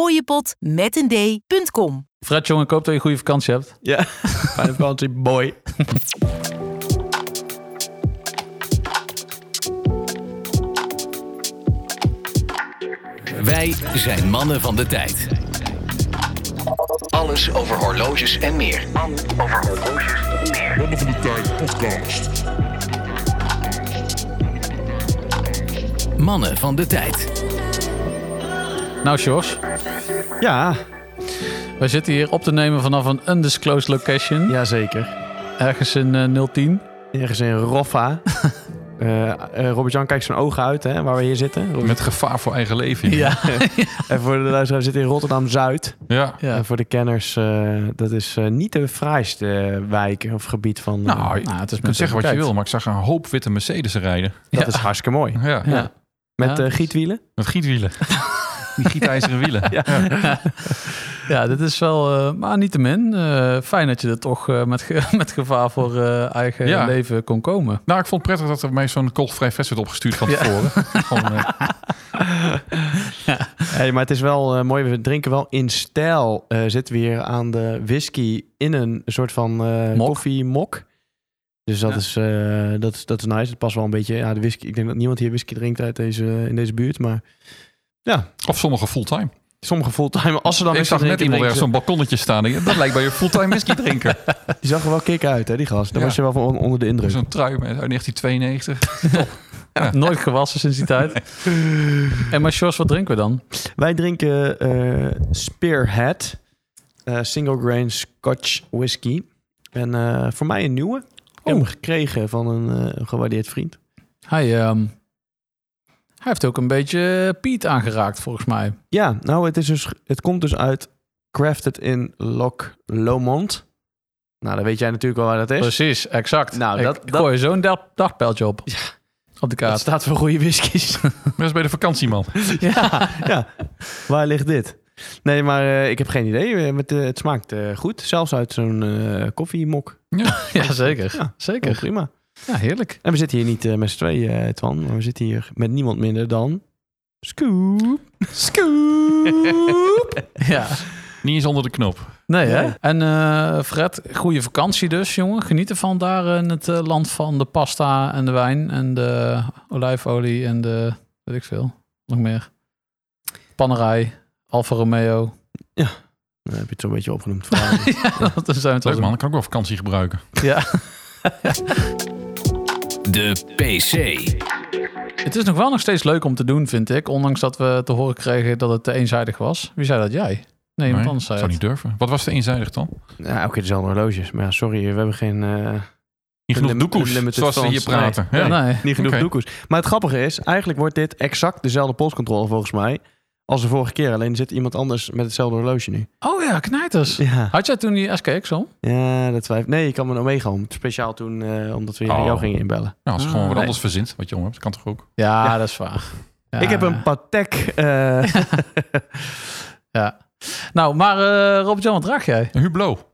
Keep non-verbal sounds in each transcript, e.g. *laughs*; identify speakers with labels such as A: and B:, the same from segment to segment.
A: fooiepot met een d.com.
B: Fred, jongen, ik hoop dat je een goede vakantie hebt.
C: *laughs*
D: Ja, fijne vakantie, boy.
E: Wij zijn mannen van de tijd. Alles over horloges en meer. Mannen van de tijd.
B: Nou, Sjors,
D: Ja,
B: wij zitten hier op te nemen vanaf een undisclosed location.
D: jazeker.
B: Ergens in eh, 010.
D: Ergens in
C: *laughs*
D: Roffa. Eh, eh, Robert-Jan kijkt zijn ogen uit, hè, waar we hier zitten. Robert-
C: Met gevaar voor eigen leven.
D: En voor de luisteraar, we zitten in Rotterdam-Zuid.
C: Ja.
D: En voor de kenners, eh, dat is eh, niet de fraaiste eh, wijk of gebied van... eh,
C: Nou,
B: Nou, het is
C: je kunt zeggen wat je
B: kijkt.
C: wil, maar ik zag een hoop witte Mercedes rijden.
D: dat
B: ja.
D: is hartstikke mooi.
C: Ja.
B: Ja.
D: Met
B: Ja.
D: eh, gietwielen.
C: Met gietwielen. *laughs* Die gietijzeren wielen. Ja.
B: *laughs* Ja, dit is wel, eh, maar niettemin. eh fijn dat je er toch eh, met, ge- *laughs* met gevaar voor eh, eigen
C: Ja.
B: leven kon komen.
C: Nou, ik vond het prettig dat er mij zo'n koolvrij vest werd opgestuurd van *laughs* tevoren. Gewoon, eh,
D: Hey, maar het is wel eh, mooi, we drinken wel in stijl. eh, zitten we hier aan de whisky in een soort van eh
B: Mok.
D: koffiemok. Dus dat,
B: Ja.
D: is, eh, dat, is- dat is nice. Het past wel een beetje. Ja, de whisky. Ik denk dat niemand hier whisky drinkt uit deze, in deze buurt. Maar
C: of sommige fulltime.
D: sommige fulltime, als ze dan
C: ik
D: whisky
C: zag net
D: drinken,
C: iemand
D: drinken
C: ergens zo'n balkonnetje staan. Ik- Dat lijkt bij je fulltime
D: *laughs*
C: whisky drinker.
D: ze- Die zag er wel kick uit, hè, die gast. Daar
C: Ja.
D: was je wel van on- onder de indruk.
C: Zo'n trui met- uit 1992.
B: Nooit gewassen sinds die
C: *laughs*
B: tijd. En maar Sjors, wat drinken we dan?
D: Wij drinken eh, Spearhead. eh, single grain Scotch whisky. En eh, voor mij een nieuwe. Ik heb hem gekregen van een eh, gewaardeerd vriend.
B: Hij, ehm, hij heeft ook een beetje Piet aangeraakt, volgens mij.
D: Ja, nou, het, is dus, het komt dus uit Crafted in Loch Lomond. Nou, dan weet jij natuurlijk wel waar dat is.
B: Precies, exact.
D: Nou,
B: Ik
D: dat- dat-
B: gooi zo'n dag, dagpijltje op. Op de
D: dat
B: kaart.
D: staat voor goede whiskies.
C: Dat is bij de vakantieman.
D: *laughs* ja, ja, waar ligt dit? Nee, maar eh, ik heb geen idee. Eh, met, eh, het smaakt eh, goed, zelfs uit zo'n eh, koffiemok.
B: *laughs* Ja, zeker.
D: Ja. Heel
B: Zeker.
D: prima.
B: Ja, heerlijk.
D: En we zitten hier niet eh, met z'n tweeën, eh, Twan. Maar we zitten hier met niemand minder dan... Scoop. Scoop.
B: Ja.
C: Niet eens onder de knop.
B: Nee, hè?
D: Nee.
B: En eh, Fred, goede vakantie dus, jongen. Geniet ervan daar in het eh, land van de pasta en de wijn en de olijfolie en de, weet ik veel, nog meer. Pannerij, Alfa Romeo. *laughs*
D: Dan Nou, heb je het zo'n beetje opgenoemd. Verhaal.
B: Dat zijn we toch
C: Leuk man, ik kan ook wel vakantie gebruiken.
B: Ja.
E: De PC.
B: Het is nog wel nog steeds leuk om te doen, vind ik. Ondanks dat we te horen kregen dat het te eenzijdig was. Wie zei dat? Jij? Nee, iemand
C: Nee,
B: anders zei
C: zou
B: het.
C: niet durven. Wat was de eenzijdig dan?
D: Ja, oké, dezelfde horloges. Maar ja, sorry, we hebben geen... eh,
C: Niet genoeg
D: Lim-
C: doekoes,
D: limited
C: zoals ze hier
D: funds.
C: praten.
D: Nee.
C: Ja.
B: Nee.
D: Niet genoeg
C: Oké.
D: doekoes. Maar het grappige is, eigenlijk wordt dit exact dezelfde polscontrole volgens mij als de vorige keer. Alleen er zit iemand anders met hetzelfde horloge nu.
B: Oh ja, knijters.
D: Ja,
B: Had jij toen die SKX al?
D: ja dat twijfel. Nee, ik kan mijn Omega om. Speciaal toen, eh, omdat we
C: Oh.
D: jou gingen inbellen.
C: Nou, als
B: Ah,
C: ze gewoon wat
B: nee.
C: anders verzint, wat je om hebt, kan toch ook.
B: Ja,
D: Ja.
B: dat is waar. Ja.
D: Ik heb een Patek. eh, *laughs*
B: Nou, maar eh Robert-Jan, wat draag jij?
C: Een Hublot.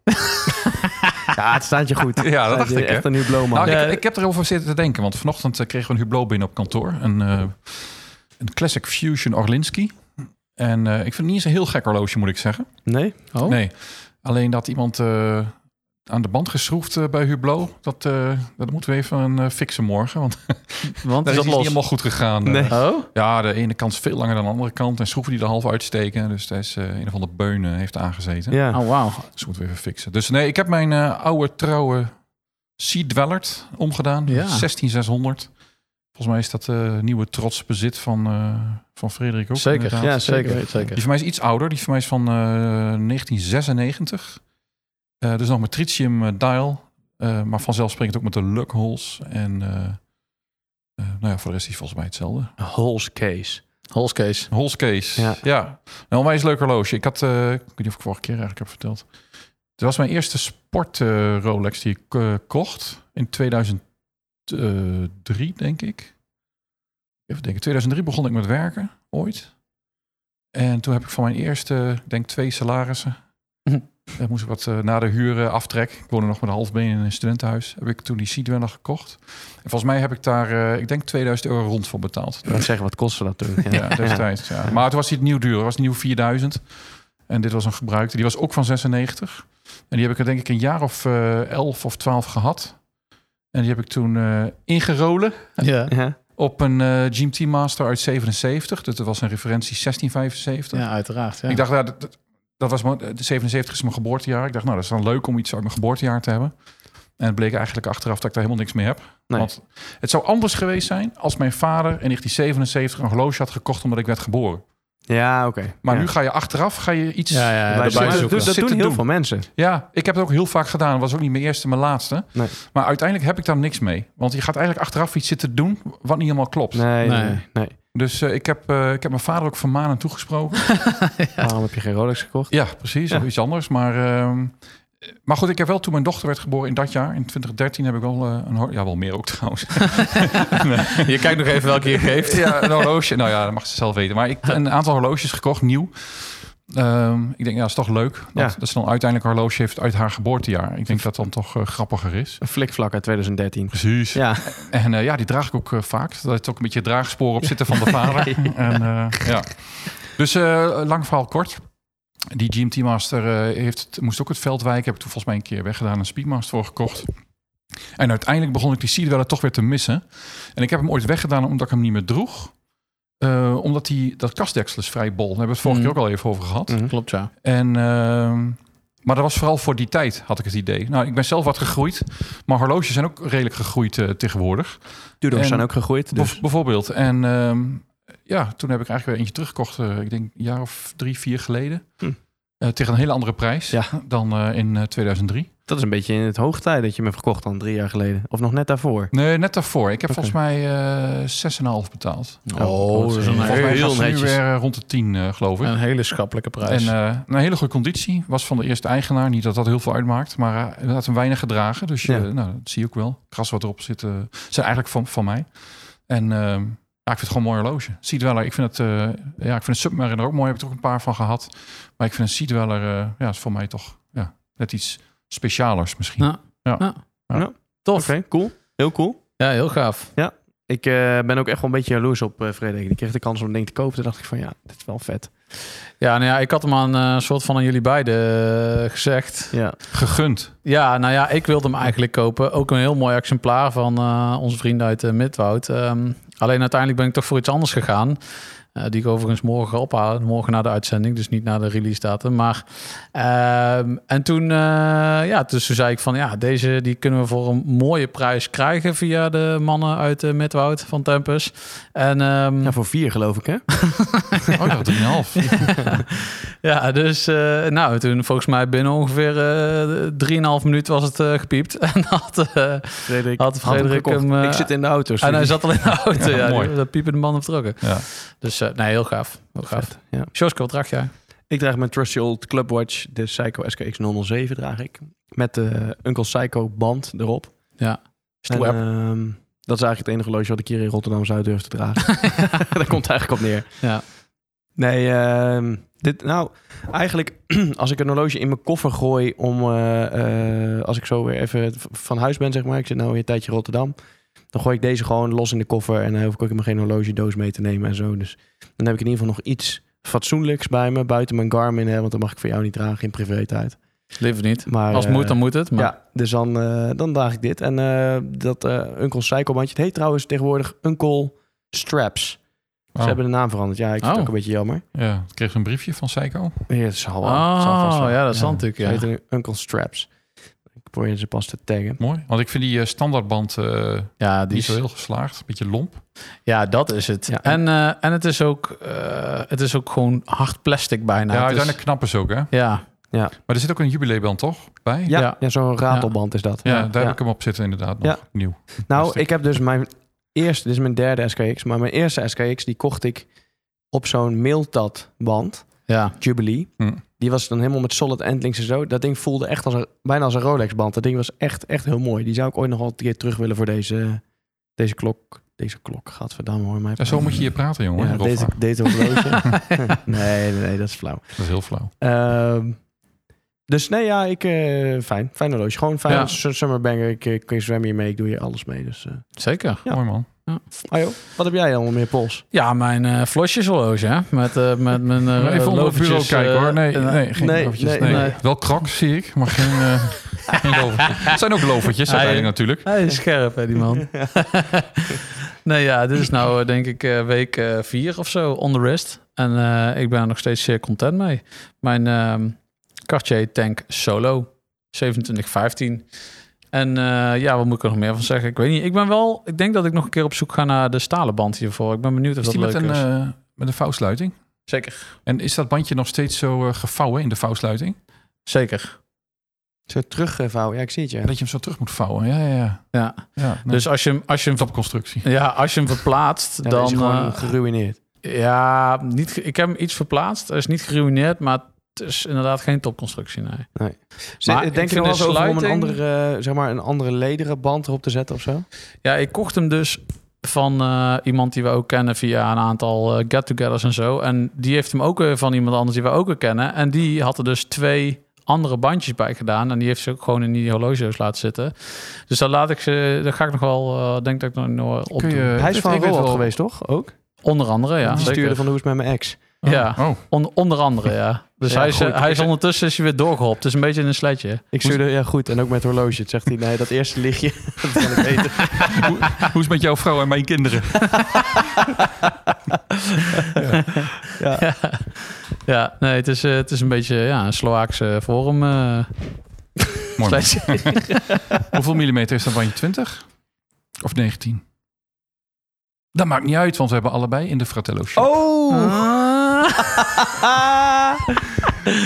D: ja, het staat je goed. Het
C: Ja, dat
D: staat
C: dacht
D: je
C: ik, hè?
D: Echt een nieuw blauw
C: Nou,
D: man.
C: ik, ik heb erover zitten te denken, want vanochtend eh, kregen we een Hublot binnen op kantoor. Een, eh, een Classic Fusion Orlinski. En eh, ik vind het niet eens een heel gek horloge, moet ik zeggen.
D: Nee?
B: Oh?
C: Nee, alleen dat iemand eh, aan de band geschroefd eh, bij Hublot, dat, eh, dat moeten we even eh, fixen morgen. Want *laughs*
B: Want
C: dat
B: is dat
C: is iets niet
B: los?
C: helemaal goed gegaan. Eh,
D: Nee.
B: Oh?
C: ja, de ene kant is veel langer dan de andere kant. En schroeven die er half uitsteken. Dus daar is eh, een of andere beunen heeft aangezeten.
D: Ja.
B: Oh, wauw.
C: Dus moeten we even fixen. Dus nee, ik heb mijn eh, oude trouwe Sea Dwellert omgedaan.
B: Ja.
C: 16600. Volgens mij is dat eh nieuwe trots bezit van, eh, van Frederik ook.
B: Zeker.
C: inderdaad.
B: Ja,
D: Ja, zeker
B: zeker.
D: weten.
B: zeker.
C: Die van mij is iets ouder. Die van mij is van eh, 1996. Eh, dus nog met tritium eh, dial. Eh, maar vanzelfsprekend ook met de luck holes. En eh, eh, nou ja, voor de rest is die volgens mij hetzelfde.
D: Hols case.
B: Holscase.
C: Holscase.
D: Ja.
C: Ja. Een onwijs leuk horloge. Ik had, eh, ik weet niet of ik vorige keer eigenlijk heb verteld. Het was mijn eerste sport eh, Rolex die ik eh, kocht in 2003, denk ik. Even denken, 2003 begon ik met werken, ooit. En toen heb ik van mijn eerste, ik denk twee salarissen,
B: Hm.
C: Daar moest ik wat eh, na de huur eh, aftrek. Ik woonde nog met een half been in een studentenhuis. Heb ik toen die Seedwell nog gekocht. En volgens mij heb ik daar, eh, ik denk 2000 euro rond voor betaald.
D: Ik moet zeggen, wat kostte dat toen?
C: Ja, destijds. Ja. Maar het was niet nieuw duur. Het was nieuw 4000. En dit was een gebruikte. Die was ook van 96. En die heb ik er denk ik een jaar of eh 11 of 12 gehad. En die heb ik toen eh, ingerolen
B: Ja.
D: Ja.
C: op een eh GMT Master uit 77. Dus dat was een referentie 1675.
B: ja, uiteraard. Ja.
C: Ik dacht, nou, dat, dat- dat was mijn, de 77 is mijn geboortejaar. Ik dacht, nou, dat is dan leuk om iets uit mijn geboortejaar te hebben. En het bleek eigenlijk achteraf dat ik daar helemaal niks mee heb.
D: Nee.
C: Want het zou anders geweest zijn als mijn vader in 1977 een horloge had gekocht omdat ik werd geboren.
D: Ja, oké.
C: Maar
D: Ja.
C: nu ga je achteraf ga je iets.
B: ja, ja,
D: Wij-
B: ja,
C: erbij
D: dat,
C: zoeken.
D: dat
C: Zitten
D: doen heel
C: doen.
D: veel mensen.
C: Ja, ik heb het ook heel vaak gedaan. Het was ook niet mijn eerste, mijn laatste.
D: Nee.
C: Maar uiteindelijk heb ik daar niks mee. Want je gaat eigenlijk achteraf iets zitten doen wat niet helemaal klopt.
D: Nee, nee,
B: Nee.
D: nee.
C: Dus eh, ik, heb, eh, ik heb mijn vader ook vermanend toegesproken.
D: Waarom heb je geen Rolex gekocht?
C: Ja, precies.
D: Ja.
C: Of iets anders. Maar, ehm, maar goed, ik heb wel toen mijn dochter werd geboren in dat jaar, in 2013, heb ik wel eh, een horloge. Ja, wel meer
D: *laughs*
C: ook trouwens.
B: *laughs* Je kijkt nog even welke je geeft.
C: ja, een horloge. Nou ja, dat mag ze zelf weten. Maar ik heb een aantal horloges gekocht, nieuw. Ehm, ik denk, ja, dat is toch leuk. Dat,
D: Ja.
C: dat ze dan uiteindelijk een horloge heeft uit haar geboortejaar. Ik denk dat dat dan toch eh, grappiger is.
D: Een flikvlak uit 2013.
C: Precies.
D: Ja,
C: En eh, ja, die draag ik ook eh, vaak. Dat heeft ook een beetje draagsporen op zitten van de vader. en, eh, *laughs* ja. Dus eh, lang verhaal kort. Die GMT Master eh, heeft, moest ook het veld wijken. Heb ik toen volgens mij een keer weggedaan. Een Speedmaster voor gekocht. En uiteindelijk begon ik die Seedweller toch weer te missen. En ik heb hem ooit weggedaan omdat ik hem niet meer droeg. Eh, omdat die, dat kastdeksel is vrij bol. Daar hebben we het vorige
B: Mm.
C: keer ook al even over gehad.
D: Mhm.
B: Klopt, ja.
C: En, ehm, maar dat was vooral voor die tijd, had ik het idee. Nou, ik ben zelf wat gegroeid. Maar horloges zijn ook redelijk gegroeid eh, tegenwoordig.
D: Tudors
C: En-
D: zijn ook gegroeid. Dus.
C: Bijv- bijvoorbeeld. En ehm, ja, toen heb ik eigenlijk weer eentje teruggekocht. eh, ik denk een jaar of drie, vier geleden.
D: Hm.
C: Eh, tegen een hele andere prijs
D: Ja.
C: dan eh, in eh, 2003.
D: Dat is een beetje in het hoogtij dat je me verkocht dan drie jaar geleden. Of nog net daarvoor.
C: Nee, net daarvoor. Ik heb
D: Oké.
C: volgens mij eh 6,5 betaald.
B: Oh, dat is een,
D: Heel
C: Volgens mij
B: hele,
C: was het nu
D: netjes.
C: weer eh, rond de 10, eh, geloof ik.
B: een hele schappelijke
C: En
B: prijs.
C: eh, een hele goede conditie. Was van de eerste eigenaar. Niet dat dat heel veel uitmaakt. Maar eh, hij had hem weinig gedragen. Dus je,
D: Ja.
C: nou, dat zie je ook wel. Het Gras wat erop zit. eh, zijn eigenlijk van, van mij. En ehm, ja, ik vind het gewoon een mooi horloge. Seedweller. Ik vind het, eh, ja, ik vind het Submariner ook mooi. Heb ik er ook een paar van gehad. Maar ik vind een Seedweller eh, ja, is voor mij toch ja, net iets specialers misschien.
B: Ja.
D: Oké, cool. Heel cool.
B: ja, heel gaaf.
D: Ik eh, ben ook echt wel een beetje jaloers op eh Frederik. Die kreeg de kans om een ding te kopen. Toen dacht ik van ja, dit is wel vet.
B: Ja, nou ja, ik had hem aan een soort van aan jullie beiden eh, gezegd.
D: Ja,
C: Gegund.
B: Ja, nou ja, ik wilde hem eigenlijk kopen. Ook een heel mooi exemplaar van eh, onze vrienden uit eh, Midwoud. Ehm, alleen uiteindelijk ben ik toch voor iets anders gegaan. Eh, die ik overigens morgen ga ophalen. Morgen na de uitzending, dus niet na de release datum. Maar, ehm, en toen, eh, ja, dus toen zei ik van... Ja, deze die kunnen we voor een mooie prijs krijgen... via de mannen uit eh Midwoud van Tempus. En, ehm,
D: ja voor vier geloof ik hè?
C: Oh ja, 3,5.
B: Ja, dus eh, nou, toen volgens mij binnen ongeveer eh 3,5 minuut was het eh, gepiept. *laughs* En had, eh,
D: Frederik
B: Had
D: hem
B: Frederik
D: gekocht.
B: hem, eh,
D: ik zit in de auto.
B: en hij
D: sorry.
B: zat al in de auto.
C: Ja,
B: ja,
C: mooi.
B: die- dat piepen de man op trokken.
C: Ja.
B: Dus eh, nee, heel gaaf. Heel gaaf.
D: Vet, ja.
B: Sjoske, wat draag jij?
D: Ik draag mijn trusty old clubwatch, de Psycho SKX 007 draag ik. Met de Uncle Psycho band erop.
B: Stoer.
D: En, ehm, dat is eigenlijk het enige horloge wat ik hier in Rotterdam zou durven te dragen.
B: eh, *laughs*
D: *laughs* Daar komt het eigenlijk op neer.
B: Ja.
D: Nee, ehm, dit, nou, eigenlijk *clears throat* als ik een horloge in mijn koffer gooi om, eh, eh, als ik zo weer even v- van huis ben, zeg maar, ik zit nou weer een tijdje in Rotterdam, dan gooi ik deze gewoon los in de koffer en dan hoef ik ook helemaal geen horlogedoos mee te nemen en zo. Dus dan heb ik in ieder geval nog iets fatsoenlijks bij me, buiten mijn Garmin, hè, want dan mag ik voor jou niet dragen in privé tijd.
B: Liever niet.
D: Maar,
B: Als het
D: eh,
B: moet, dan moet het. Maar
D: ja, dus dan, eh, dan daag ik dit. En eh, dat eh Uncle Psycho bandje, het heet trouwens tegenwoordig Uncle Straps. Ze
C: Oh,
D: hebben de naam veranderd. Ja, ik vind het
B: Oh.
D: ook een beetje jammer.
C: ja. Ik kreeg een briefje van Seiko.
D: Ja, het zal wel. het zal vast
B: Oh,
D: wel.
B: ja, dat is
C: Ja.
B: natuurlijk.
D: Ze
B: Ja.
D: heten nu Uncle Straps. Ik probeer ze pas te taggen.
C: Mooi. Want ik vind die eh, standaardband eh,
B: ja, die
C: niet zo
B: is,
C: heel geslaagd. Een beetje
B: Nou,
C: lomp.
B: ja, dat is het.
D: Ja.
B: En, eh, en het, is ook, eh, het is ook gewoon hard plastic bijna. Het
C: ja,
B: is-
C: uiteindelijk knappen ze ook, hè?
B: ja.
C: Maar er zit ook een jubileeband, toch? Bij?
D: Ja, ja.
B: Ja.
D: zo'n ratelband is dat.
C: Ja, daar
D: Ja.
C: heb ik hem op zitten inderdaad nog. Nieuw.
D: Nou,
C: Plastic.
D: ik heb dus mijn eerste, dit is mijn derde SKX, maar mijn eerste SKX die kocht ik op zo'n Mailtat band, *laughs*
B: ja.
D: Jubilee.
C: Hm.
D: Die was dan helemaal met solid endlinks en zo. Dat ding voelde echt als een, bijna als een Rolex band. Dat ding was echt, echt heel mooi. Die zou ik ooit nog wel een keer terug willen voor deze, deze klok. Deze klok, gadverdamme hoor. Mij
C: Ja, zo moet je hier praten, jongen. ah,
D: Ja,
C: Roffa.
D: deze,
C: *laughs*
D: deze horloge. nee, nee, nee, dat is flauw.
C: Dat is heel flauw.
D: Ehm, Dus nee, ja, ik, eh, fijn. Fijn horloge. Gewoon fijn.
B: Ja.
D: Su- Summerbanger. Ik eh, ik zwem hier mee. Ik doe hier alles mee. Dus, eh.
B: *laughs* Zeker.
D: Ja.
C: Mooi man.
D: Ah, joh. Wat heb jij allemaal meer pols?
B: Ja, mijn eh flosjeshorloge, hè? Met, eh, met mijn eh
C: Even onder het
B: lovertjes,
C: bureau kijken
B: eh,
C: hoor. Nee,
B: en, eh,
C: nee, geen
D: nee,
C: lovertjes.
D: nee,
C: Nee.
B: nee.
C: Wel krak zie ik, maar geen, eh, *laughs* geen lovertjes. Het zijn ook lovertjes
B: Hij-
C: uiteindelijk natuurlijk.
B: Hij is scherp, hè, die man. *laughs* nee, ja, dit is nou eh, denk ik eh, week eh, vier of zo, on the wrist. En eh, ik ben er nog steeds zeer content mee. Mijn ehm, Cartier Tank Solo 2715. En eh, ja, wat moet ik er nog meer van zeggen? Ik weet niet. Ik ben wel, ik denk dat ik nog een keer op zoek ga naar de stalen band hiervoor. Ik ben benieuwd of
C: Is die
B: dat
C: met
B: leuk
C: een,
B: is.
C: eh, met een vouwsluiting?
B: Zeker.
C: En is dat bandje nog steeds zo eh, gevouwen in de vouwsluiting?
B: Zeker.
D: Zo terugvouwen. Ja, ik zie het, ja.
C: Dat je hem zo terug moet vouwen. Ja, ja, ja.
B: Ja.
C: ja nou, nee.
B: Dus als je hem, als je hem, ver-
C: topconstructie.
B: ja, als je hem verplaatst,
D: Ja,
B: dan
D: is gewoon
B: eh,
D: geruineerd.
B: Ja, niet, ge- ik heb hem iets verplaatst. Hij is niet geruineerd, maar het is inderdaad geen topconstructie. Nee.
D: Zit-
B: maar ik
D: Denk je
B: vind
D: er wel
B: de
D: eens over om een
B: sluiting- Eh,
D: andere, eh, zeg maar, een andere lederen band erop te zetten of zo?
B: Ja, ik kocht hem dus van eh, iemand die we ook kennen via een aantal eh, get-togethers en zo. En die heeft hem ook weer van iemand anders die we ook weer kennen. En die had er dus twee andere bandjes bij gedaan. En die heeft ze ook gewoon in die horloges laten zitten. Dus daar laat ik ze, daar ga ik nog wel, eh, denk dat ik nog- nog op
C: Kun je,
D: Hij is
C: ik
D: van
C: weet
D: Roald
C: wel-
D: geweest, toch? Ook?
B: Onder andere, ja.
D: Die stuurde
B: Zeker.
D: van hoe is het met mijn ex?
C: Oh,
B: Ja.
C: oh.
B: On- onder andere, ja. Dus
D: Ja,
B: hij, is,
D: goed.
B: hij is ondertussen is hij weer doorgehopt. Het is een beetje in een sletje.
D: Ik stuurde, ja goed, en ook met horloge. Het zegt hij, nee, dat eerste lichtje, *laughs* dat kan ik weten.
B: *laughs*
C: hoe, hoe is het met jouw vrouw en mijn kinderen?
B: Ja, ja nee, het is, eh, het is een beetje ja, een Slovaakse forum. eh,
C: Mooi man.
B: slechts.
C: *laughs* Hoeveel millimeter is dat bandje? 20? Of 19? Dat maakt niet uit, want we hebben allebei in de Fratello shop.
D: Oh! Oh.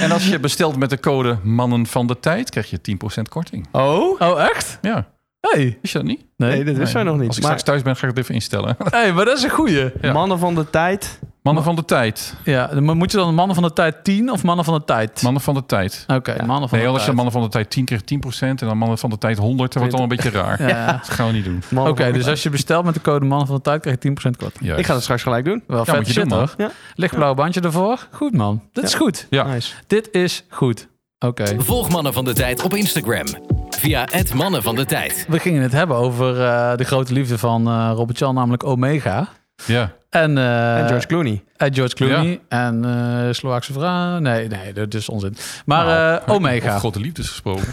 C: En als je bestelt met de code mannen van de tijd, krijg je 10% korting.
D: *laughs* Oh?
B: Oh, echt?
C: Ja,
B: Hey.
C: is dat niet?
D: Nee,
B: Nee.
D: dat wist
C: Nee.
D: wij nog
C: Als
D: niet.
C: ik
D: Maar
C: straks thuis ben, ga ik het even instellen. *laughs*
B: hey, maar dat is een goeie.
C: ja.
D: mannen van de tijd.
C: Mannen van de tijd.
B: Ja, maar moet je dan mannen van de tijd 10 of mannen van de tijd?
C: Mannen van de tijd.
B: Oké, mannen van
C: nee,
B: de
C: als je
B: tijd.
C: mannen van de tijd 10 krijgt 10% en dan mannen van de tijd 100, dan wordt het al een beetje
D: *laughs*
C: raar.
B: Ja. ja.
C: Dat gaan we niet doen.
D: Mannen
B: Oké,
D: van de
B: dus als je bestelt met de code mannen van de tijd, krijg je 10% korting.
C: Juist.
D: tijd. Ik ga dat straks gelijk doen.
B: Wel
C: Ja,
B: vet
C: moet je
B: shit,
C: doen, man.
B: hoor.
D: Ja.
B: Lichtblauw bandje ervoor. Goed, man. Dit is goed.
C: Ja.
D: Nice.
B: Dit is goed. Oké.
E: Volg Mannen van de Tijd op Instagram. Via het Mannen van de Tijd.
B: We gingen het hebben over eh, de grote liefde van eh Robert-Jan, namelijk Omega.
D: dus-
C: Ja.
B: En, eh,
D: en George Clooney.
B: En George Clooney en eh Slovaakse vrouw. Nee, nee, dat is onzin. Maar
C: Nou,
B: eh, Omega.
C: Over grote liefdes
B: *laughs*
C: gesproken.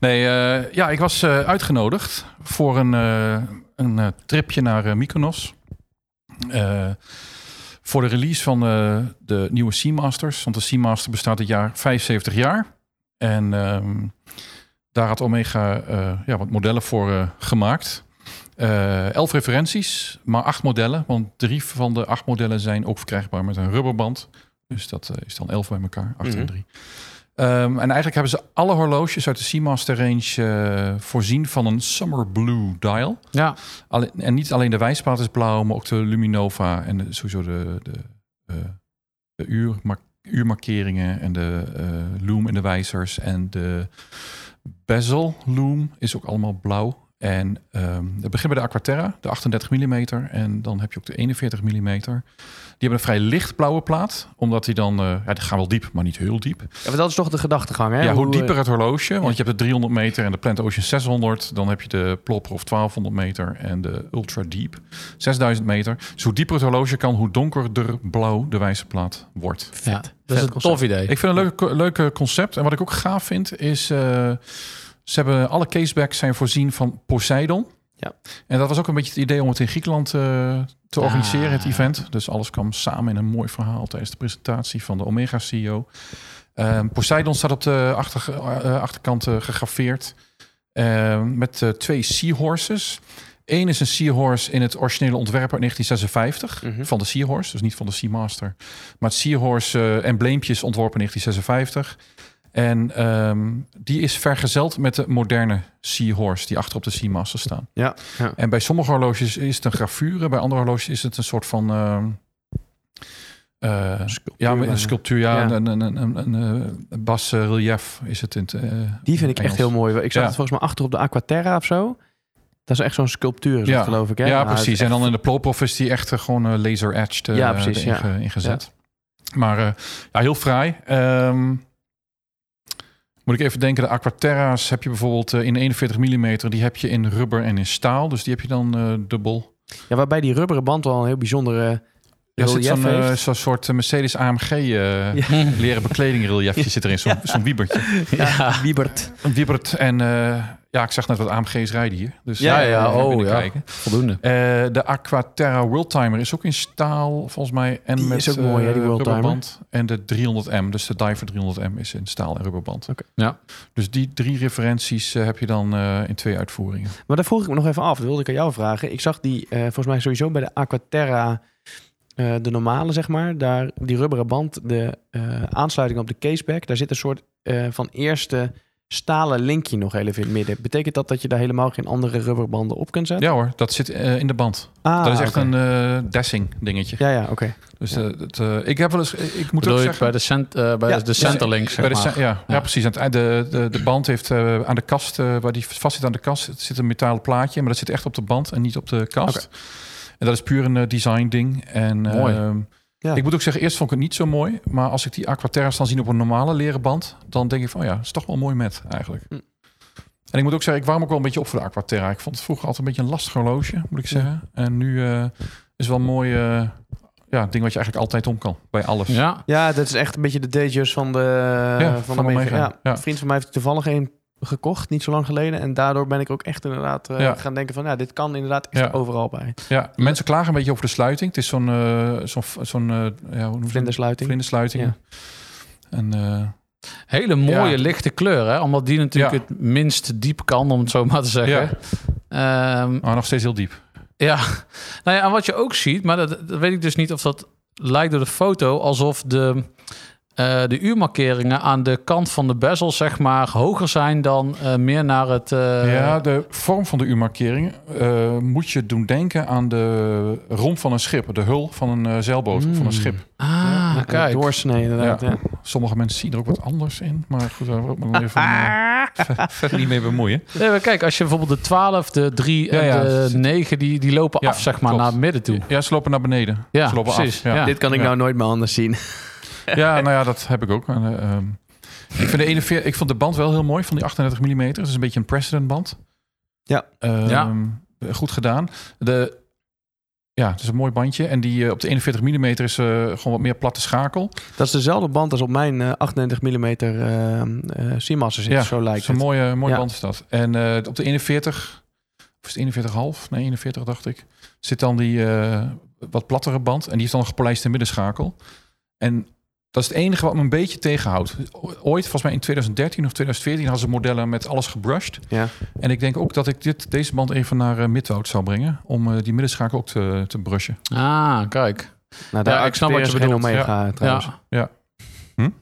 C: nee, eh, ja, ik was eh, uitgenodigd voor een, eh, een eh, tripje naar eh, Mykonos. Eh, voor de release van eh, de nieuwe Seamasters. Want de Seamaster bestaat dit jaar 75 jaar. En ehm, daar had Omega eh, ja, wat modellen voor eh, gemaakt. Eh, elf referenties, maar acht modellen. Want drie van de acht modellen zijn ook verkrijgbaar met een rubberband. Dus dat eh, is dan elf bij elkaar, acht
D: Mhm.
C: en drie. Ehm, en eigenlijk hebben ze alle horloges uit de Seamaster range eh, voorzien van een Summer Blue dial.
B: Ja,
C: Alleen- en niet alleen de wijspaat is blauw, maar ook de Luminova en de- sowieso de, de, eh, de uurmark- uurmarkeringen en de eh, loom en de wijzers. En de bezel loom is ook allemaal blauw. En ehm we beginnen bij de Aquaterra, de 38 mm. En dan heb je ook de 41 mm. Die hebben een vrij lichtblauwe plaat, omdat die dan... eh, ja, die gaan wel diep, maar niet heel diep.
D: Ja, maar dat is toch de gedachtegang, hè?
C: Ja, hoe
D: eh,
C: dieper het horloge, want je hebt de 300 meter en de Plant Ocean 600. Dan heb je de Plopper of 1200 meter en de Ultra Deep 6000 meter. Dus hoe dieper het horloge kan, hoe donkerder blauw de wijzerplaat wordt.
B: ja. dat is een
D: concept.
B: tof idee. *laughs*
C: Ik vind het een leuk, leuke concept. En wat ik ook gaaf vind, is eh, ze hebben alle casebacks zijn voorzien van Poseidon.
D: Ja.
C: En dat was ook een beetje het idee om het in Griekenland eh, te
B: Ah.
C: organiseren, het event. Dus alles kwam samen in een mooi verhaal tijdens de presentatie van de Omega CEO. Ehm, Poseidon staat op de achter, eh, achterkant eh, gegraveerd ehm, met eh, twee seahorses. Eén is een seahorse in het originele ontwerp uit 1956
D: Mhm.
C: van de Seahorse, dus niet van de Seamaster. Maar het Seahorse eh, embleempje is ontworpen in 1956. En ehm, die is vergezeld met de moderne Seahorse die achter op de Seamaster staan.
D: Ja, ja.
C: En bij sommige horloges is het een gravure, bij andere horloges is het een soort van. ehm, eh, ja,
D: bijna.
C: een sculptuur, ja,
D: Ja.
C: Een, een, een, een, een, eh, bas-relief is het in het, eh,
D: Die vind ik
C: Engels.
D: echt heel mooi. Ik zag
C: Ja.
D: het volgens mij achter op de Aquaterra of zo. Dat is echt zo'n sculptuur, is dat,
C: Ja.
D: geloof ik, hè?
C: Ja,
D: Nou, het is
C: precies. En
D: echt-
C: dan in de Plopov is die echt eh, gewoon eh, laser edged eh
D: Ja, precies,
C: erin
D: ja.
C: ge- ingezet. Maar eh, ja, heel fraai. Ehm, Moet ik even denken, de Aquaterra's heb je bijvoorbeeld eh, in 41 mm, die heb je in rubber en in staal. Dus die heb je dan eh, dubbel.
D: Ja, waarbij die rubberen band wel een heel bijzondere
C: Er zit zo'n
D: relief
C: eh,
D: heeft.
C: zo'n soort eh, Mercedes AMG eh, leren bekleding
D: *laughs*
C: reliefje zit erin, zo'n zo'n wiebertje.
D: Ja, Wiebert.
C: Een wiebert eh, en eh, ja, ik zag net wat AMG's rijden hier. Dus
B: Ja,
C: eh,
B: ja,
C: even
B: oh,
C: binnenkijken.
B: Voldoende.
C: Eh, de Aquaterra Worldtimer is ook in staal, volgens mij. En
D: Die
C: met,
D: is ook mooi, hè, die
C: eh,
D: Worldtimer.
C: rubberband. En de 300M, dus de Diver 300M is in staal en rubberband.
D: Oké.
B: Ja.
C: Dus die drie referenties eh, heb je dan eh, in twee uitvoeringen.
D: Maar daar vroeg ik me nog even af. Dat wilde ik aan jou vragen. Ik zag die eh, volgens mij sowieso bij de Aquaterra, eh, de normale zeg maar. Daar, die rubberen band, de eh, aansluiting op de caseback. Daar zit een soort eh, van eerste stalen linkje nog heel even in het midden. Betekent dat dat je daar helemaal geen andere rubberbanden op kunt zetten?
C: Ja hoor, dat zit eh, in de band.
D: Ah,
C: dat is echt
D: oké.
C: een eh dessing dingetje.
D: Ja, ja, oké.
C: Dus eh, dat, eh, ik heb wel eens, ik moet
B: Bedoel
C: ook
B: je
C: zeggen...
B: bij de, cent, eh, bij
D: Ja,
B: de centerlink,
C: bij
B: zeg
C: de,
B: maar.
C: se- ja, ja.
B: Ja.
C: precies. Aan het eind- De, de, de band heeft eh, aan de kast, eh, waar die vast zit aan de kast, het zit een metalen plaatje, maar dat zit echt op de band en niet op de kast. En dat is puur een eh, design ding. En,
B: Mooi.
C: ehm,
D: Ja.
C: Ik moet ook zeggen, eerst vond ik het niet zo mooi, maar als ik die Aquaterra's dan zie op een normale leren band, dan denk ik van oh ja, is toch wel mooi met eigenlijk.
D: Hm.
C: En ik moet ook zeggen, ik warm ook wel een beetje op voor de Aquaterra. Ik vond het vroeger altijd een beetje een lastig horloge, moet ik
B: Hm.
C: zeggen. En nu eh, is wel een mooi eh, ja, ding wat je eigenlijk altijd om kan, bij alles.
B: Ja,
D: Ja, dat is echt een beetje de Datejust van de, van
C: van
D: de
C: Omega.
D: Omega. Ja,
C: Ja.
D: Een vriend van mij heeft toevallig een gekocht, niet zo lang geleden. En daardoor ben ik ook echt inderdaad eh,
C: Ja.
D: gaan denken van... ja, dit kan inderdaad echt
C: Ja.
D: overal bij.
C: Ja, mensen klagen een beetje over de sluiting. Het is zo'n eh, zo'n zo'n, eh, ja, hoe noem je dat?
D: Vlindersluiting.
C: Vlindersluiting.
D: Ja.
C: En eh,
B: hele mooie
C: Ja.
B: lichte kleur, hè? Omdat die natuurlijk
C: Ja.
B: het minst diep kan, om het zo maar te zeggen.
C: ja,
B: Ehm,
C: maar nog steeds heel diep.
B: Ja, nou ja, en wat je ook ziet, maar dat, dat weet ik dus niet of dat lijkt door de foto alsof de, eh, de uurmarkeringen aan de kant van de bezel, zeg maar, hoger zijn dan eh, meer naar het. eh,
C: ja, de vorm van de U-markering eh, moet je doen denken aan de romp van een schip. De hul van een eh, zeilboot of van
D: Hmm.
C: een
B: Mm.
C: schip.
B: Ah,
D: Ja,
B: kijk.
D: Doorsnee inderdaad,
C: Ja.
D: ja.
C: Sommige mensen zien er ook wat anders in. Maar goed, daar wil ik me dan
D: *laughs*
C: even
D: Ah.
C: eh, ver- verder niet mee bemoeien.
B: Nee, maar kijk, als je bijvoorbeeld de 12, de 3 en
C: Ja, ja, dat
B: de
C: zit-
B: 9, die, die lopen
C: Ja,
B: af, zeg maar,
C: klopt.
B: naar het midden toe.
C: Ja, ze lopen naar beneden.
B: Ja,
C: ze lopen
B: precies.
C: Af. Ja.
B: Ja.
D: Dit kan ik
C: Ja.
D: nou nooit meer anders zien.
C: Ja, nou ja, dat heb ik ook. En, eh, ehm, ik, vind de 41, ik vond de band wel heel mooi van die 38 mm. Dat is een beetje een precedent band.
D: Ja.
C: Ehm,
B: Ja.
C: Goed gedaan. De, ja, het is een mooi bandje. En die eh, op de 41 mm is eh, gewoon wat meer platte schakel.
D: *laughs* Dat is dezelfde band als op mijn eh, 98 mm eh eh, Seamaster zit,
C: Ja,
D: zo
C: Dat
D: lijkt
C: is een
D: het.
C: mooie, mooie
D: Ja.
C: band is dat. En eh, op de 41, of is het 41,5? Nee, 41 dacht ik. Zit dan die eh, wat plattere band. En die is dan een gepolijste middenschakel. En dat is het enige wat me een beetje tegenhoudt. Ooit, volgens mij in 2013 of 2014, hadden ze modellen met alles gebrushed.
D: Ja.
C: En ik denk ook dat ik dit, deze band even naar eh, Midwoud zou brengen. Om eh, die middenschakel ook te, te brushen.
B: Ah, kijk.
D: Nou, daar
B: Ja, ik snap
D: accepteren
B: wat
D: ze
B: je
D: geen
B: bedoelt.
D: Omega eh, trouwens.
B: Ja.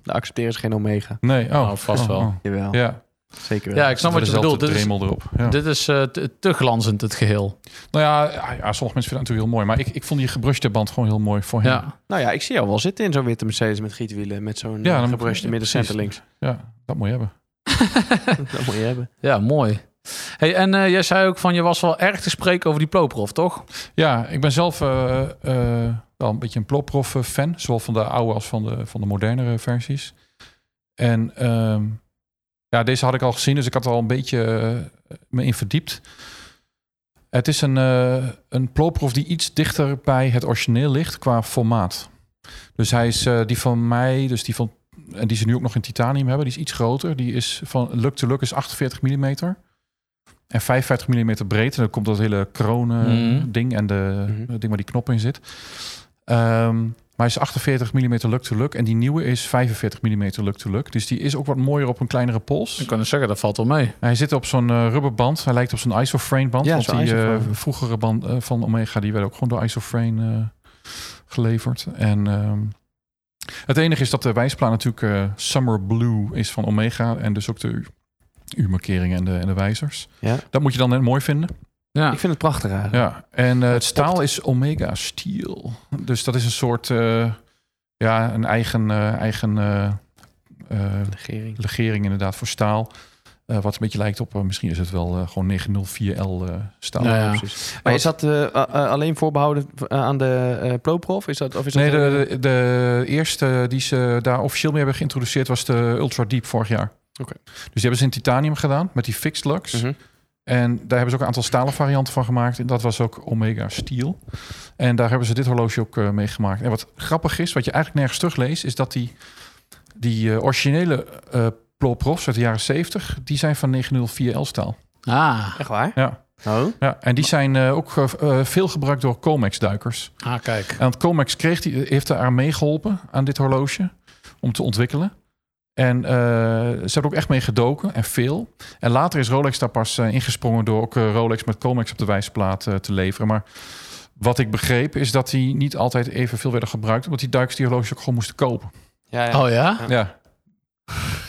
D: Daar accepteren ze geen Omega.
C: Nee, oh.
B: Nou, vast wel.
D: Jawel,
C: Ja,
D: zeker wel.
B: ja, ik snap wat je bedoelt. Dus Dit is,
C: Dremel erop. Ja.
B: dit is eh, te te glanzend, het geheel.
C: Nou ja, ja, ja, sommige mensen vinden het natuurlijk heel mooi. Maar ik, ik vond die gebrushte band gewoon heel mooi voor hem.
B: Ja.
D: Nou ja, ik zie jou wel zitten in zo'n witte Mercedes met gietwielen. Met zo'n eh,
C: Ja,
D: ja,
C: dan-
D: gebrushte
C: ja,
D: midden
C: precies.
D: center links.
C: Ja, dat moet je hebben.
D: *laughs* Dat moet je hebben.
B: ja, mooi. Hey, en eh, jij zei ook van, je was wel erg te spreken over die Ploprof, toch?
C: Ja, ik ben zelf eh, eh, wel een beetje een Plopprof-fan. Zowel van de oude als van de, van de modernere versies. En ehm, ja, deze had ik al gezien, dus ik had er al een beetje eh, me in verdiept. Het is een, eh een Ploprof die iets dichter bij het origineel ligt qua formaat. Dus hij is eh, die van mij, dus die van, en die ze nu ook nog in titanium hebben, die is iets groter. Die is van look to look is 48 mm. En 55 mm breed. En dan komt dat hele kronen
B: Mhm.
C: ding en de,
D: Mhm.
C: het ding waar die knop in zit. Ehm, maar hij is 48 mm look to look. En die nieuwe is 45 mm look to look. Dus die is ook wat mooier op een kleinere pols.
B: Ik kan dus zeggen, dat valt wel mee.
C: Hij zit op zo'n eh, rubberband. Hij lijkt op zo'n isoframe band.
D: Ja,
C: want
D: zo'n
C: die eh,
D: isoframe.
C: vroegere band eh, van Omega die werd ook gewoon door isoframe eh, geleverd. En ehm, het enige is dat de wijsplaan natuurlijk eh, Summer Blue is van Omega. En dus ook de u- U-markeringen en de, en de wijzers.
D: Ja.
C: Dat moet je dan net mooi vinden.
B: Ja.
D: Ik vind het prachtig eigenlijk.
C: Ja. En eh, het
D: Dat topt.
C: staal is Omega Steel. Dus dat is een soort... eh, ja, een eigen... eh, eigen eh, eh,
D: Regering.
C: legering inderdaad voor staal. Eh, wat een beetje lijkt op, eh, misschien is het wel eh, gewoon 904L eh, staal.
B: Ja, ja.
D: Precies. Maar is dat eh, eh, eh, alleen voorbehouden eh, aan de eh ProProf? Is dat, of is dat
C: Nee,
D: eh,
C: de, de, de eerste die ze daar officieel mee hebben geïntroduceerd was de Ultra Deep vorig jaar.
D: Oké.
C: Dus die hebben ze in titanium gedaan met die fixed lux.
D: Mhm.
C: En daar hebben ze ook een aantal stalen varianten van gemaakt. En dat was ook Omega Steel. En daar hebben ze dit horloge ook eh mee gemaakt. En wat grappig is, wat je eigenlijk nergens terugleest, is dat die, die eh, originele eh Ploprofs uit de jaren 70, die zijn van 904L staal.
B: Ah,
D: Echt waar?
C: Ja.
D: Oh.
C: ja, en die zijn eh, ook eh, eh, veel gebruikt door Comex-duikers.
B: ah kijk.
C: En want Comex kreeg die, heeft daar meegeholpen aan dit horloge om te ontwikkelen. En eh, ze hebben ook echt mee gedoken en veel. En later is Rolex daar pas eh, ingesprongen door ook eh, Rolex met Comex op de wijsplaat eh, te leveren. Maar wat ik begreep is dat die niet altijd evenveel werden gebruikt, omdat die duikers die horloges ook gewoon moesten kopen.
D: Ja, ja.
B: Oh ja?
C: Ja. *laughs*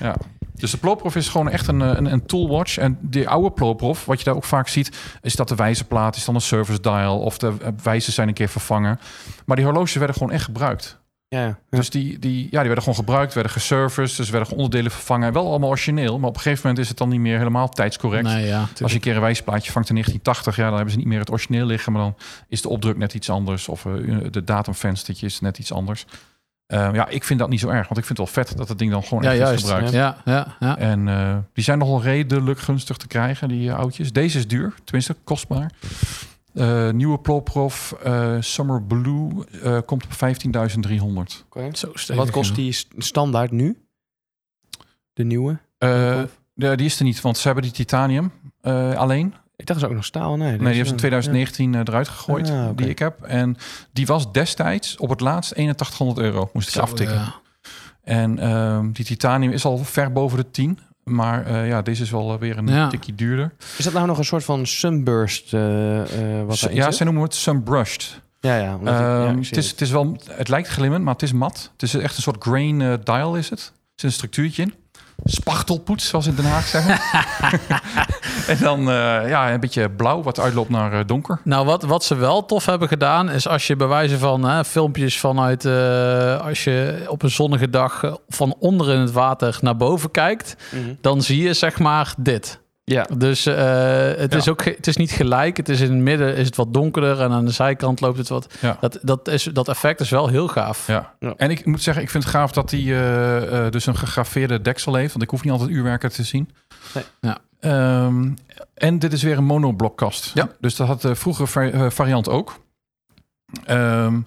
C: ja. Dus de Ploprof is gewoon echt een, eh, een, een toolwatch. En die oude Ploprof, wat je daar ook vaak ziet, is dat de wijzerplaat is dan een service dial of de eh, wijzers zijn een keer vervangen. Maar die horloges werden gewoon echt gebruikt.
D: ja, ja.
C: Dus die, die, ja, die werden gewoon gebruikt, werden geserviced, dus werden onderdelen vervangen. Wel allemaal origineel, maar op een gegeven moment is het dan niet meer helemaal tijdscorrect.
B: Nee, ja.
C: Als je
B: tuurlijk.
C: een keer een wijsplaatje vangt in 1980, ja, dan hebben ze niet meer het origineel liggen, maar dan is de opdruk net iets anders of eh, de datumvenstertje is net iets anders. Eh, ja, ik vind dat niet zo erg, want ik vind het wel vet dat het ding dan gewoon
B: ja,
C: echt is
B: juist.
C: gebruikt.
B: Ja, ja, ja.
C: En eh, die zijn nogal redelijk gunstig te krijgen, die eh, oudjes. Deze is duur, tenminste kostbaar. Eh, nieuwe Ploprof eh, Summer Blue eh, komt op 15.300.
D: Oké.
B: Zo stevig,
D: Wat kost
B: ja.
D: die st- standaard nu? De nieuwe?
C: Eh, de- die is er niet, want ze hebben die titanium eh, alleen.
D: Ik dacht ze ook nog staal. Nee, eh,
C: Nee, die hebben ze in 2019 eruit gegooid,
D: Ah, oké.
C: die ik heb. En die was destijds op het laatst 8100 euro, moest ik
B: Zo,
C: aftikken.
B: ja.
C: En ehm, die titanium is al ver boven de 10. Maar eh, ja, deze is wel eh, weer een
B: Ja.
C: tikje duurder.
D: Is dat nou nog een soort van sunburst? eh, eh, wat
C: Ze-
D: daarin
C: ja,
D: zit?
C: ze noemen het sunbrushed.
D: ja, ja. omdat ik- ja,
C: Ehm,
D: ik
C: het,
D: zie
C: is, het, is wel, het lijkt glimmend, maar het is mat. Het is echt een soort grain eh, dial is het. Er zit een structuurtje in. Spachtelpoets, zoals ze in Den Haag
D: *laughs*
C: zeggen. en dan eh, ja, een beetje blauw, wat uitloopt naar eh, donker.
B: Nou, wat, wat ze wel tof hebben gedaan, is als je bij wijze van hè, filmpjes vanuit, eh, als je op een zonnige dag eh, van onder in het water naar boven kijkt,
D: Mhm.
B: dan zie je zeg maar dit.
D: Ja.
B: Dus eh, het,
C: Ja.
B: is ook, ge- het is niet gelijk. Het is in het midden is het wat donkerder en aan de zijkant loopt het wat.
C: Ja.
B: Dat, dat, is, dat effect is wel heel gaaf.
C: Ja.
D: Ja.
C: en ik moet zeggen, ik vind het gaaf dat hij eh, eh, dus een gegraveerde deksel heeft. Want ik hoef niet altijd uurwerken te zien.
D: Nee.
B: Ja.
C: Ehm, en dit is weer een monoblokkast.
B: Ja.
C: Dus dat had de vroegere va- eh, variant ook. Ehm,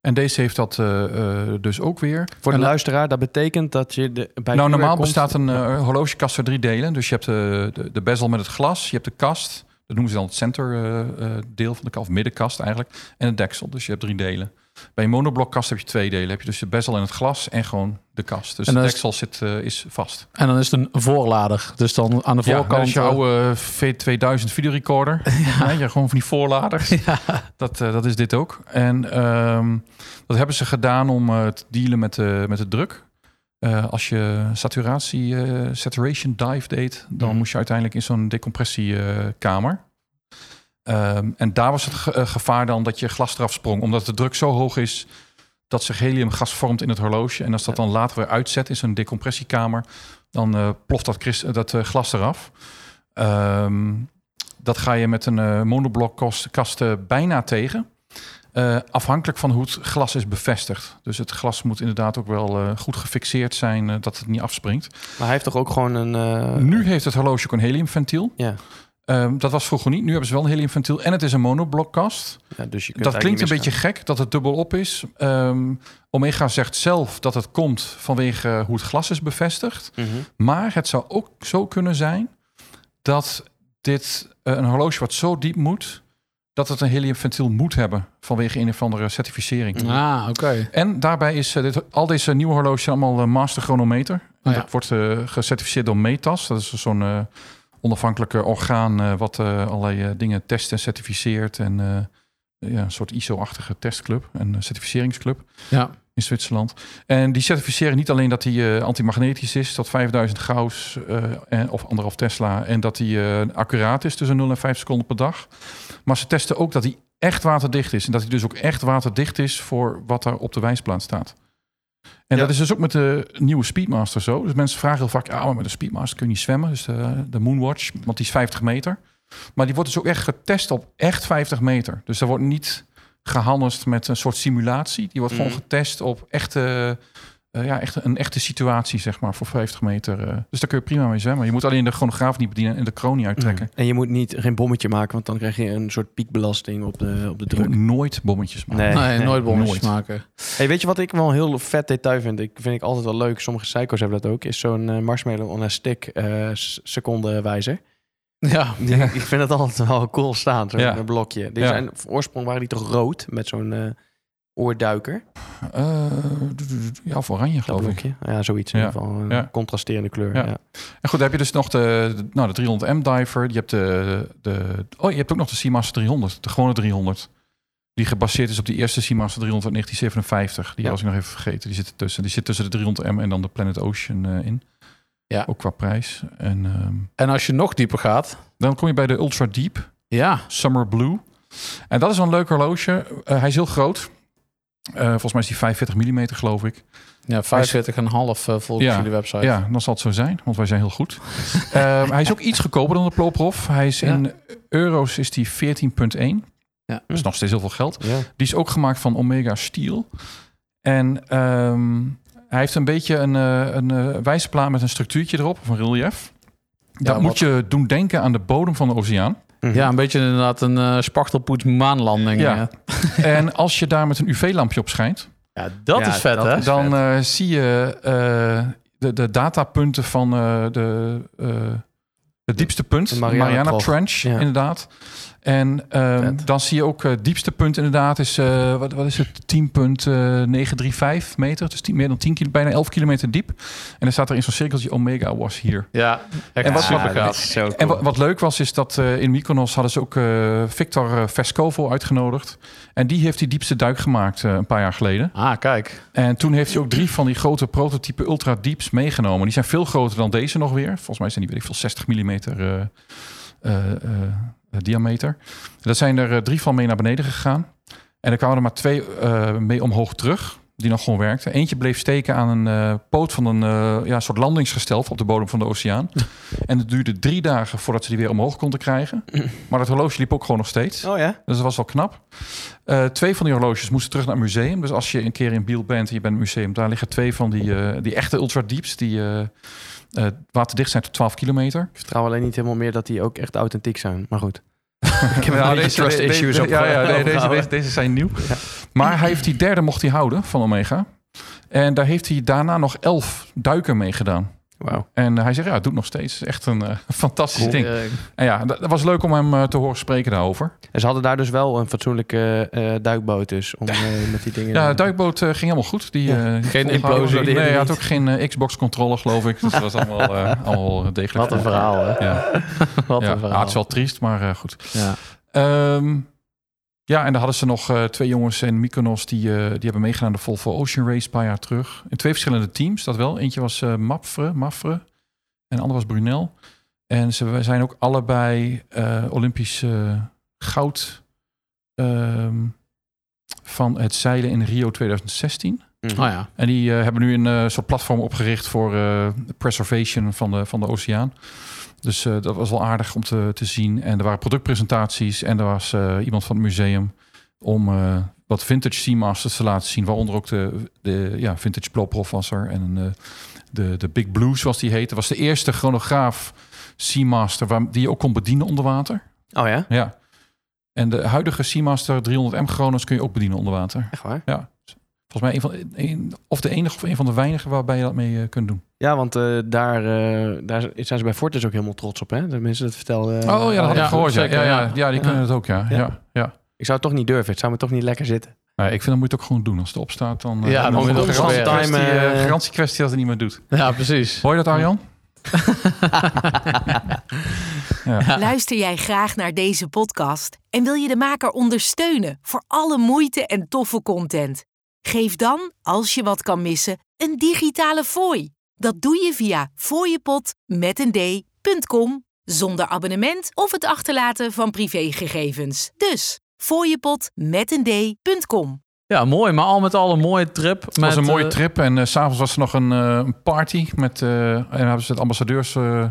C: en deze heeft dat eh, eh, dus ook weer.
D: Voor de
C: En-
D: luisteraar, dat betekent dat je de, bij
C: nou, normaal
D: komt-
C: bestaat een eh, horlogekast uit drie delen. Dus je hebt de, de, de bezel met het glas, je hebt de kast. Dat noemen ze dan het center eh, eh, deel van de kast, of middenkast eigenlijk. En het deksel, dus je hebt drie delen. Bij een monoblokkast heb je twee delen. Heb je dus de bezel en het glas en gewoon de kast. Dus
B: En
C: het
B: dan is-
C: deksel zit, eh, is vast.
B: En dan is het een voorlader. Dus dan aan de
C: Ja, dat
B: voorkant. eh,
C: is je oude V2000
B: *laughs*
C: videorecorder. Ja. je gewoon van die voorladers. Dat, eh, dat is dit ook. En ehm, dat hebben ze gedaan om eh, te dealen met de, met de druk. Eh, als je saturatie, eh, saturation dive deed, dan
D: Mhm.
C: moest je uiteindelijk in zo'n decompressiekamer. Ehm, en daar was het ge- eh, gevaar dan dat je glas eraf sprong, omdat de druk zo hoog is dat zich heliumgas vormt in het horloge. En als dat dan later weer uitzet in zo'n decompressiekamer, dan eh, ploft dat, kris- eh, dat eh, glas eraf. Ehm, dat ga je met een eh monoblokkast kast, eh, bijna tegen. Eh, afhankelijk van hoe het glas is bevestigd. Dus het glas moet inderdaad ook wel eh, goed gefixeerd zijn eh, dat het niet afspringt.
D: Maar hij heeft toch ook gewoon een... eh,
C: nu heeft het horloge ook een heliumventiel.
D: Ja.
C: Ehm, dat was vroeger niet. Nu hebben ze wel een heliumventiel en het is een monoblokkast.
D: ja, dus je kunt
C: Dat
D: eigenlijk
C: klinkt een
D: niet
C: beetje
D: misgaan.
C: gek dat het dubbel op is. Ehm, Omega zegt zelf dat het komt vanwege eh, hoe het glas is bevestigd.
D: Mhm.
C: Maar het zou ook zo kunnen zijn dat dit eh, een horloge wat zo diep moet, dat het een heliumventiel moet hebben vanwege een of andere certificering.
B: Ah, oké.
C: En daarbij is eh, dit, al deze nieuwe horloges zijn allemaal eh, master chronometer.
B: ja.
C: Dat wordt eh, gecertificeerd door Metas. Dat is zo'n eh, onafhankelijke orgaan eh, wat eh, allerlei eh, dingen test en certificeert. En eh, ja, een soort ISO-achtige testclub en eh, certificeringsclub
B: Ja.
C: in Zwitserland. En die certificeren niet alleen dat hij eh antimagnetisch is, tot 5000 gauss eh, en, of anderhalf Tesla, en dat hij eh, accuraat is tussen 0 en 5 seconden per dag. Maar ze testen ook dat hij echt waterdicht is. En dat hij dus ook echt waterdicht is voor wat daar op de wijsplaat staat.
D: Ja.
C: En dat is dus ook met de nieuwe Speedmaster zo. Dus mensen vragen heel vaak, ah, maar met de Speedmaster kun je niet zwemmen. Dus de, de Moonwatch, want die is 50 meter. Maar die wordt dus ook echt getest op echt 50 meter. Dus daar wordt niet gehandeld met een soort simulatie. Die wordt gewoon
D: Mhm.
C: getest op echte eh, ja, echt een echte situatie, zeg maar, voor 50 meter. eh. dus daar kun je prima mee zwemmen. Je moet alleen de chronograaf niet bedienen en de kroon niet uittrekken.
D: Mhm. En je moet niet, geen bommetje maken, want dan krijg je een soort piekbelasting op de, op de
C: Je
D: druk.
C: moet nooit bommetjes maken.
D: Nee,
B: Nee,
D: nee,
B: nooit bommetjes
C: nooit.
B: maken.
D: Hey, weet je wat ik wel een heel vet detail vind? Ik vind ik altijd wel leuk. Sommige psycho's hebben dat ook. Is zo'n eh, marshmallow on a stick eh, s- secondenwijzer.
C: *laughs*
B: Ja,
D: Die- Ik vind dat altijd wel cool staan, zo'n eh,
C: Ja.
D: blokje. Die
C: Ja.
D: zijn, van oorsprong waren die toch rood met zo'n eh, oorduiker?
C: Eh, d- d- d- ja, of oranje,
D: Dat
C: geloof ik.
D: blokje. Ja, zoiets in
C: Ja.
D: ieder geval. Een
C: Ja.
D: contrasterende kleur.
C: Ja.
D: Ja.
C: En goed, dan heb je dus nog de, de- nou, de 300M diver. Je hebt, de, de, oh, je hebt ook nog de Seamaster 300, de gewone 300. Die gebaseerd is op die eerste Seamaster 300 uit 1957. Die
D: Ja.
C: was ik nog even vergeten. Die zit ertussen. Die zit tussen de 300M en dan de Planet Ocean eh, in.
B: Ja.
C: Ook qua prijs. En ehm,
B: en als je nog dieper gaat,
C: dan kom je bij de Ultra Deep.
B: ja,
C: Summer Blue. En dat is wel een leuk horloge. Eh, hij is heel groot. Eh, volgens mij is die 45 mm, geloof ik.
B: ja 45,5 eh, volgens
C: Ja,
B: jullie website.
C: Ja, dan zal het zo zijn, want wij zijn heel
B: *laughs*
C: goed. Ehm, hij is ook iets goedkoper dan de Ploprof. Hij is
B: Ja.
C: in euro's is die 14,1.
B: Ja.
C: Dat is nog steeds heel veel geld.
D: Ja.
C: Die is ook gemaakt van Omega Steel. En ehm, hij heeft een beetje een, eh, een eh, wijzerplaat met een structuurtje erop, of een relief. Dat
B: wat-
C: moet je doen denken aan de bodem van de oceaan.
B: *laughs*
D: Mhm.
B: Ja, een beetje inderdaad een eh spachtelpoets maanlanding.
C: Ja.
B: Ja,
C: en als je daar met een UV-lampje op schijnt,
B: ja dat
D: Ja,
B: is vet,
D: dat
B: hè?
D: is-
C: dan eh, zie je eh, de, de datapunten van eh, de, eh, het diepste punt,
D: De
C: de
D: Mariana
C: Mariana,
D: Trench.
C: Trench,
D: Ja.
C: inderdaad. En ehm,
D: Vet.
C: dan zie je ook het diepste punt inderdaad is, eh, wat, wat is het, eh, 10.935 meter. Dus 10, meer dan 10 kilo, bijna 11 kilometer diep. En dan staat er in zo'n cirkeltje Omega was hier.
B: Ja, echt
C: En wat-
B: super
C: Ja,
B: gaaf.
D: zo
C: En wat, wat leuk was, is dat eh, in Mykonos hadden ze ook eh, Victor eh, Vescovo uitgenodigd. En die heeft die diepste duik gemaakt eh, een paar jaar geleden.
B: Ah, kijk.
C: En toen heeft hij ook drie van die grote prototype Ultra Deeps meegenomen. Die zijn veel groter dan deze nog weer. Volgens mij zijn die, weet ik veel, 60 mm eh, diameter. Daar zijn er eh, drie van mee naar beneden gegaan. En er kwamen er maar twee eh, mee omhoog terug, die nog gewoon werkten. Eentje bleef steken aan een eh, poot van een eh, ja, soort landingsgestel op de bodem van de
B: *laughs*
C: oceaan. en het duurde drie dagen voordat ze die weer omhoog konden krijgen. Maar dat horloge liep ook gewoon nog steeds.
D: Oh ja?
C: Dus dat was wel knap. Eh, twee van die horloges moesten terug naar het museum. Dus als je een keer in Biel bent en je bent in het museum, daar liggen twee van die, eh, die echte ultra deeps die eh, eh, waterdicht zijn tot 12 kilometer.
D: Ik vertrouw alleen niet helemaal meer dat die ook echt authentiek zijn. Maar
C: *laughs*
D: goed.
C: Ik
D: heb een beetje trust issues
C: Nou,
D: eh,
C: deze, ja, ja,
D: opgehouden.
C: nee, deze, deze, deze zijn nieuw. Maar hij heeft die derde mocht hij houden van Omega. En daar heeft hij daarna nog elf duiken mee gedaan.
D: Wauw.
C: En hij zegt, ja, het doet nog steeds. Echt een eh, *laughs* fantastisch ding.
B: Eh,
C: En ja, dat, dat was leuk om hem eh, te horen spreken daarover.
D: En ze hadden daar dus wel een fatsoenlijke eh, duikboot dus. Om eh, met die dingen...
C: Ja, de duikboot eh, ging helemaal goed. Die,
D: Ja.
C: eh, die
B: Geen
C: volgde-
B: implosie.
C: Nee, hij had ook geen Xbox-controller, geloof ik. Dus dat was allemaal, eh, allemaal degelijk.
B: Wat een verhaal, hè?
D: *laughs*
C: Ja,
B: Wat een
C: ja. Ah, het
B: verhaal.
C: is wel triest, maar eh, goed.
B: Ja.
C: Ehm, ja, en daar hadden ze nog eh, twee jongens in Mykonos... Die, eh, die hebben meegedaan aan de Volvo Ocean Race een paar jaar terug. In twee verschillende teams, dat wel. Eentje was eh Mapfre, Mafre en de ander was Brunel. En ze zijn ook allebei eh, Olympisch eh, goud... ehm, van het zeilen in Rio 2016.
D: Mhm.
B: Oh ja.
C: En die eh, hebben nu een eh, soort platform opgericht voor eh, preservation van de, van de oceaan. Dus eh, dat was wel aardig om te, te zien. En er waren productpresentaties en er was eh, iemand van het museum om eh, wat vintage Seamasters te laten zien. Waaronder ook de, de ja, vintage Plophof was er. En eh, de, de Big Blue, zoals die heette, was de eerste chronograaf Seamaster waar, die je ook kon bedienen onder water.
D: Oh ja?
C: Ja. En de huidige Seamaster 300M chronos kun je ook bedienen onder water.
D: Echt waar?
C: Volgens mij een van, een, of de enige of een van de weinigen waarbij je dat mee eh, kunt doen.
D: Ja, want eh, daar, eh, daar zijn ze bij Fortis ook helemaal trots op, hè? De mensen dat vertelden. eh,
C: oh ja, dat had
B: ja,
C: ik gehoord. Ja,
B: zeker,
C: ja, ja,
B: ja.
C: Ja, die kunnen het ook, ja.
D: Ja.
C: ja. ja,
D: Ik zou het toch niet durven. Het zou me toch niet lekker zitten.
C: Nou, ik vind dat moet je het ook gewoon doen. Als het opstaat, dan... eh,
B: Ja, dan
C: dan
B: moet je
C: is
B: dat
C: het een
B: gewoon
C: garantiekwestie,
D: proberen.
C: eh, garantiekwestie als het niet meer doet.
B: Ja, precies.
C: Hoor je dat, Arjan?
A: Luister jij graag naar deze podcast en wil je de maker ondersteunen voor alle moeite en toffe content? Geef dan, als je wat kan missen, een digitale fooi. Dat doe je via fooiepot.com zonder abonnement of het achterlaten van privégegevens. Dus fooiepot.com.
B: Ja, mooi. Maar al met al een mooie trip.
C: Het was een mooie
B: eh,
C: trip. En eh, s s'avonds was er nog een, eh, een party. Met, eh, en hebben ze het ambassadeurs eh,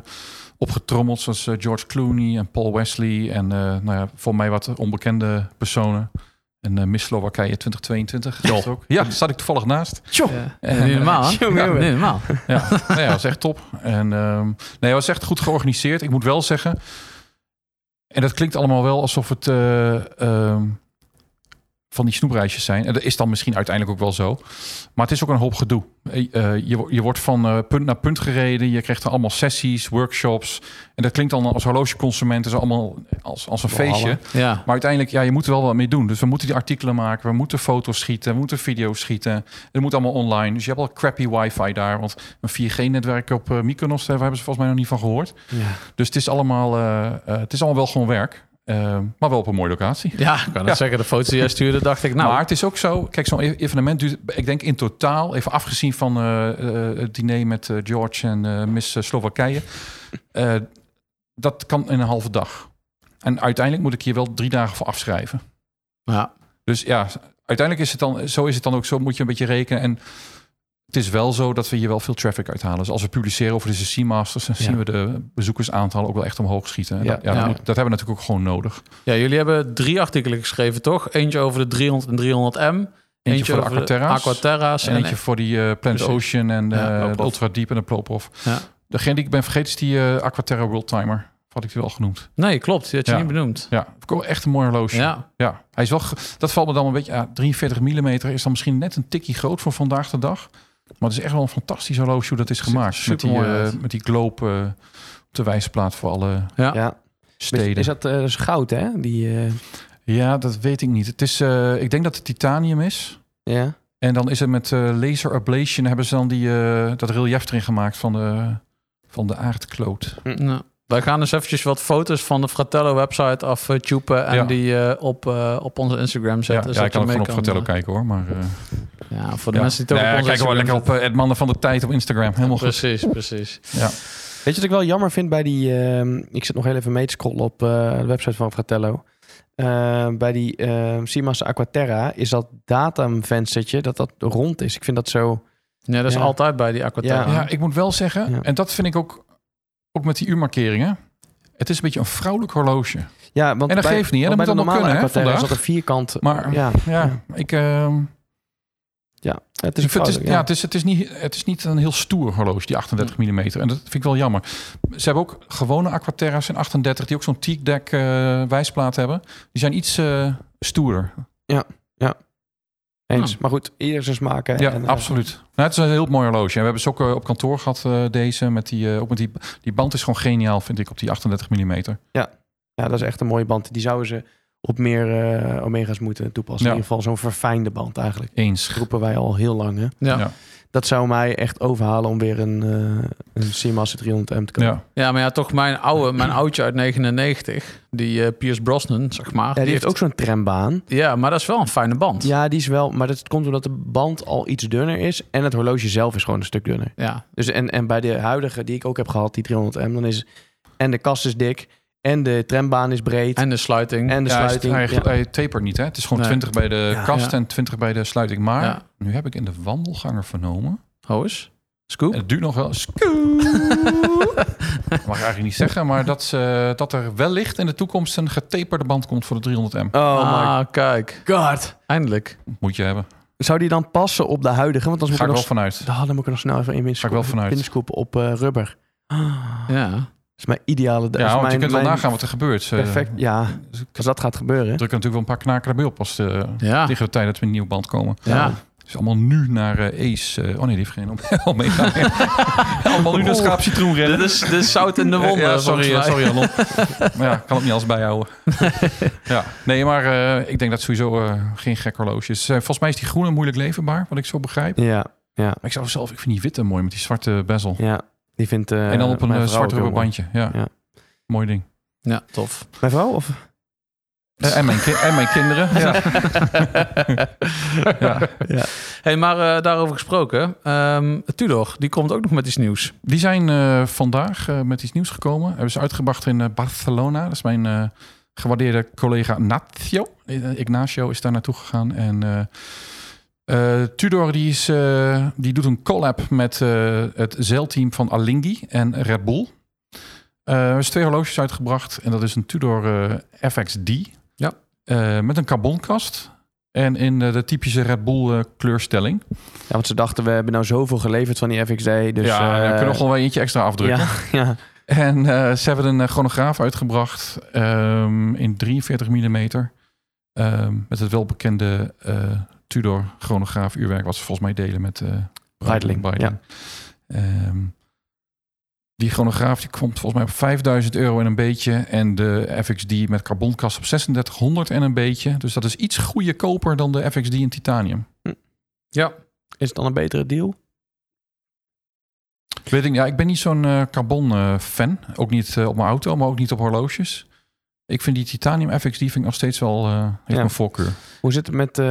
C: opgetrommeld. Zoals eh, George Clooney en Paul Wesley. En eh, nou ja, voor mij wat onbekende personen. En eh Miss Slowakije 2022. is het ook. Ja, daar zat ik toevallig naast.
B: Ja.
C: En,
B: niet
C: *laughs*
B: normaal, hè?
D: *laughs* Jongen,
B: Ja,
D: jongen.
B: niet normaal.
C: Ja, nou ja, was echt top. En ehm, nee, was echt goed georganiseerd. Ik moet wel zeggen. En dat klinkt allemaal wel alsof het eh, ehm, van die snoepreisjes zijn. En dat is dan misschien uiteindelijk ook wel zo. Maar het is ook een hoop gedoe. Eh, eh, je, wo- je wordt van eh, punt naar punt gereden. Je krijgt er allemaal sessies, workshops. En dat klinkt dan als horlogeconsument. is allemaal als, als een
D: Walhalla.
C: feestje.
B: Ja.
C: Maar uiteindelijk, ja, je moet er wel wat mee doen. Dus we moeten die artikelen maken, we moeten foto's schieten, we moeten video's schieten. Het moet allemaal online. Dus je hebt al crappy wifi daar. Want een 4G-netwerk op eh, Mykonos, daar hebben ze volgens mij nog niet van gehoord.
D: Ja.
C: Dus het is allemaal, eh, eh, het is allemaal wel gewoon werk. Eh, maar wel op een mooie locatie.
B: Ja, ik kan het
C: Ja.
B: zeggen. De foto's die jij stuurde, dacht ik, nou...
C: maar het is ook zo, kijk, zo'n e- evenement duurt, ik denk in totaal, even afgezien van eh, eh, het diner met eh, George en eh, Miss Slowakije, eh, dat kan in een halve dag. En uiteindelijk moet ik hier wel drie dagen voor afschrijven.
B: ja.
C: Dus ja, uiteindelijk is het dan, zo is het dan ook, zo moet je een beetje rekenen. En het is wel zo dat we hier wel veel traffic uithalen. Dus als we publiceren over deze C-masters, dan
B: Ja.
C: zien we de bezoekersaantallen ook wel echt omhoog schieten. En
D: Ja.
C: Dat, ja, dat
B: Ja.
C: moet- dat hebben we natuurlijk ook gewoon nodig.
B: ja, jullie hebben drie artikelen geschreven, toch? Eentje over de 300 en 300M.
C: Eentje, voor de
B: over
C: Aquaterra's.
B: Aquaterra's.
C: en eentje voor die eh Planet
B: Precies.
C: Ocean en
B: Ja,
C: eh,
B: Plop-Off.
C: de Ultra Deep en de Plop-Off.
B: Ja.
C: Degene die ik ben vergeten is die eh, Aquaterra World Timer. Had ik die wel genoemd.
B: Nee, klopt. Die had je
C: Ja. Oh,
B: niet benoemd.
C: Ja, echt een mooi horloge.
B: Ja.
C: Ja, hij is wel. ge- Dat valt me dan een beetje. Ja, 43 mm is dan misschien net een tikkie groot voor vandaag de dag. Maar het is echt wel een fantastisch horloge hoe dat is gemaakt.
B: Ziet er
C: met, die,
B: supermooi
C: eh,
B: uit.
C: met die globe eh, op de wijsplaat voor alle
B: Ja.
D: Ja.
C: steden.
D: Is dat eh, is goud, hè? Die, eh,
C: Ja, dat weet ik niet. Het is, eh, ik denk dat het titanium is.
D: ja.
C: En dan is het met eh, laser ablation hebben ze dan die, eh, dat relief erin gemaakt van de, van de aardkloot.
B: Nou, wij gaan dus eventjes wat foto's van de Fratello website aftupen en
C: Ja.
B: die eh, op, eh, op onze Instagram
C: Ja,
B: zetten.
C: ja,
B: zodat
C: ik kan
B: je
C: ook
B: mee
C: gewoon op Fratello
B: eh,
C: kijken hoor. Maar, eh,
B: Ja, voor de
C: ja.
B: mensen die toch
C: Nee,
B: op onze
C: kijk wel lekker
B: Instagram
C: op eh, het mannen van de tijd op Instagram. Helemaal goed.
B: Precies, precies.
D: Weet je wat ik wel jammer vind bij die... ehm, ik zit nog heel even mee te scrollen op eh, de website van Fratello. Eh, bij die ehm Seamaster Aquaterra is dat datumvenstertje dat dat rond is. Ik vind dat zo...
B: Ja, dat is
D: Ja.
B: altijd bij die Aquaterra.
C: Ja, ik moet wel zeggen,
D: Ja.
C: en dat vind ik ook, ook met die uurmarkeringen. Het is een beetje een vrouwelijk horloge.
D: Ja, want
C: En dat
D: bij,
C: geeft niet, hè?
D: want
C: Dat
D: bij
C: moet
D: de
C: allemaal
D: normale
C: kunnen, hè,
D: Aquaterra is
C: vandaag.
D: dat een vierkant...
C: Maar-
D: ja,
C: Ja, ik. ehm,
D: het is
C: ik
D: een
C: vind- het is,
D: vrouwelijk,
C: ja, het is, het, is niet, het is niet een heel stoer horloge, die 38 mm. En dat vind ik wel jammer. Ze hebben ook gewone Aquaterra's in 38, die ook zo'n teak deck eh, wijsplaat hebben. Die zijn iets eh, stoerder.
D: Eens.
B: Ja.
D: Maar goed, ieder zijn smaken.
C: Ja,
D: en, eh,
C: absoluut. Nou, het is een heel mooi horloge. En we hebben ze ook eh, op kantoor gehad, eh, deze. Met die, eh, ook met die, die band is gewoon geniaal, vind ik, op die 38 mm.
D: Ja, dat is echt een mooie band. Die zouden ze op meer eh, Omega's moeten toepassen.
C: Ja.
D: In ieder geval zo'n verfijnde band eigenlijk.
C: Eens.
D: roepen wij al heel lang. Hè?
B: Ja.
C: Ja.
D: Dat zou mij echt overhalen om weer een, eh een Seamaster 300M te kopen.
C: Ja.
B: Ja, maar ja, toch mijn oude, mijn oudje uit 99, die eh, Piers Brosnan, zeg maar.
D: Ja, die, heeft ook zo'n trambaan.
B: Ja, maar dat is wel een fijne band. Ja.
D: Ja, die is wel, maar dat komt omdat de band al iets dunner is en het horloge zelf is gewoon een stuk dunner. Dus en, en bij de huidige die ik ook heb gehad, die 300M, dan is en de kast is dik en de trambaan is breed en,
B: En de sluiting.
D: de
C: Ja, hij-
D: sluiting.
C: Hij,
D: ja.
C: hij, tapert niet, hè? Het is gewoon
B: Nee.
C: 20 bij de
D: Ja.
C: kast
B: Ja.
C: en 20 bij de sluiting. Maar
B: Ja.
C: nu heb ik in de wandelganger vernomen.
B: Ho eens. Oh, Scoop.
C: En het duurt nog wel. Scoop. mag ik eigenlijk niet zeggen, maar dat, ze- dat er wellicht in de toekomst een getaperde band komt voor de 300M.
D: *laughs* Oh my
B: ah, kijk.
D: god.
B: Eindelijk.
C: Moet je hebben.
D: Zou die dan passen op de huidige? Want anders
C: Ga ik
D: moet ik
C: wel
D: er
C: vanuit.
D: nog, Ah, dan moet ik er nog snel even in
C: Ga ik wel
D: binnenscoepen-
C: vanuit.
D: binnenscoepen op eh, rubber. *gasps* Ah, dat
B: Ja.
D: is mijn ideale. dat is
C: Ja, want je
D: mijn-
C: kunt wel
D: mijn
C: nagaan wat er gebeurt. Eh,
D: Perfect, ja. Als dat gaat gebeuren.
C: Ik druk er natuurlijk wel een paar knaken erbij op als de,
D: Ah.
B: Ja.
C: tegen de tijd dat we een nieuwe band komen.
B: Ja.
C: Het is allemaal nu naar eh, Ace. eh, oh nee, die heeft geen *laughs* om-
D: *laughs*
C: Omega. allemaal nu naar
D: Oh.
C: Schaap Citroen rennen.
B: Dit is, dit is zout *laughs* in de wond.
C: Ja,
B: eh, volgens
C: sorry, eh,
B: mij.
C: sorry Anon.
B: *laughs*
C: maar ja, ik kan het niet alles bijhouden. ja. Nee, maar eh, ik denk dat sowieso eh, geen gek horloge is. Eh, volgens mij is die groene moeilijk leverbaar, wat ik zo begrijp.
D: Ja,
C: Maar ik zou zelf, ik vind die witte mooi met die zwarte bezel.
D: ja. Die vindt. eh,
C: en dan op een
D: mijn
C: eh,
D: vrouw
C: zwart
D: ook heel mooi.
C: rubberbandje. Ja.
D: Ja.
C: Mooi ding.
B: Ja, tof.
D: Mijn vrouw? Of?
C: Eh, en, mijn ki- en mijn
D: *laughs*
C: kinderen. Ja.
B: *laughs*
C: ja.
B: hey, maar eh, daarover gesproken. ehm, Tudor, die komt ook nog met iets nieuws. *clears throat*
C: Die zijn eh, vandaag eh, met iets nieuws gekomen. Hebben ze uitgebracht in eh, Barcelona. Dat is mijn eh, gewaardeerde collega Natio. Eh, Ignacio is daar naartoe gegaan. En eh, eh, Tudor die is, eh, die doet een collab met eh, het zeilteam van Alinghi en Red Bull. Eh, er is twee horloges uitgebracht. En dat is een Tudor eh, FXD.
B: Ja.
C: Eh, met een carbonkast. En in eh, de typische Red Bull eh, kleurstelling.
D: Ja, want ze dachten, we hebben nou zoveel geleverd van die FXD. Dus,
C: ja,
D: eh,
C: dan kunnen we gewoon wel eentje extra afdrukken.
D: ja, ja.
C: En eh, ze hebben een eh, chronograaf uitgebracht ehm, in 43 mm. ehm, met het welbekende eh, Tudor chronograaf uurwerk, wat ze volgens mij delen met eh
D: Breitling,
C: Ehm, die chronograaf die komt volgens mij op 5000 euro en een beetje. En de FXD met carbonkast op 3600 en een beetje. Dus dat is iets goedkoper dan de FXD in titanium.
D: Is het dan een betere deal?
C: Weet ik, ja, ik ben niet zo'n eh, carbon eh, fan. Ook niet eh, op mijn auto, maar ook niet op horloges. Ik vind die titanium FX, die vind ik nog steeds wel eh heeft
D: Ja.
C: mijn voorkeur.
D: Hoe zit het met eh,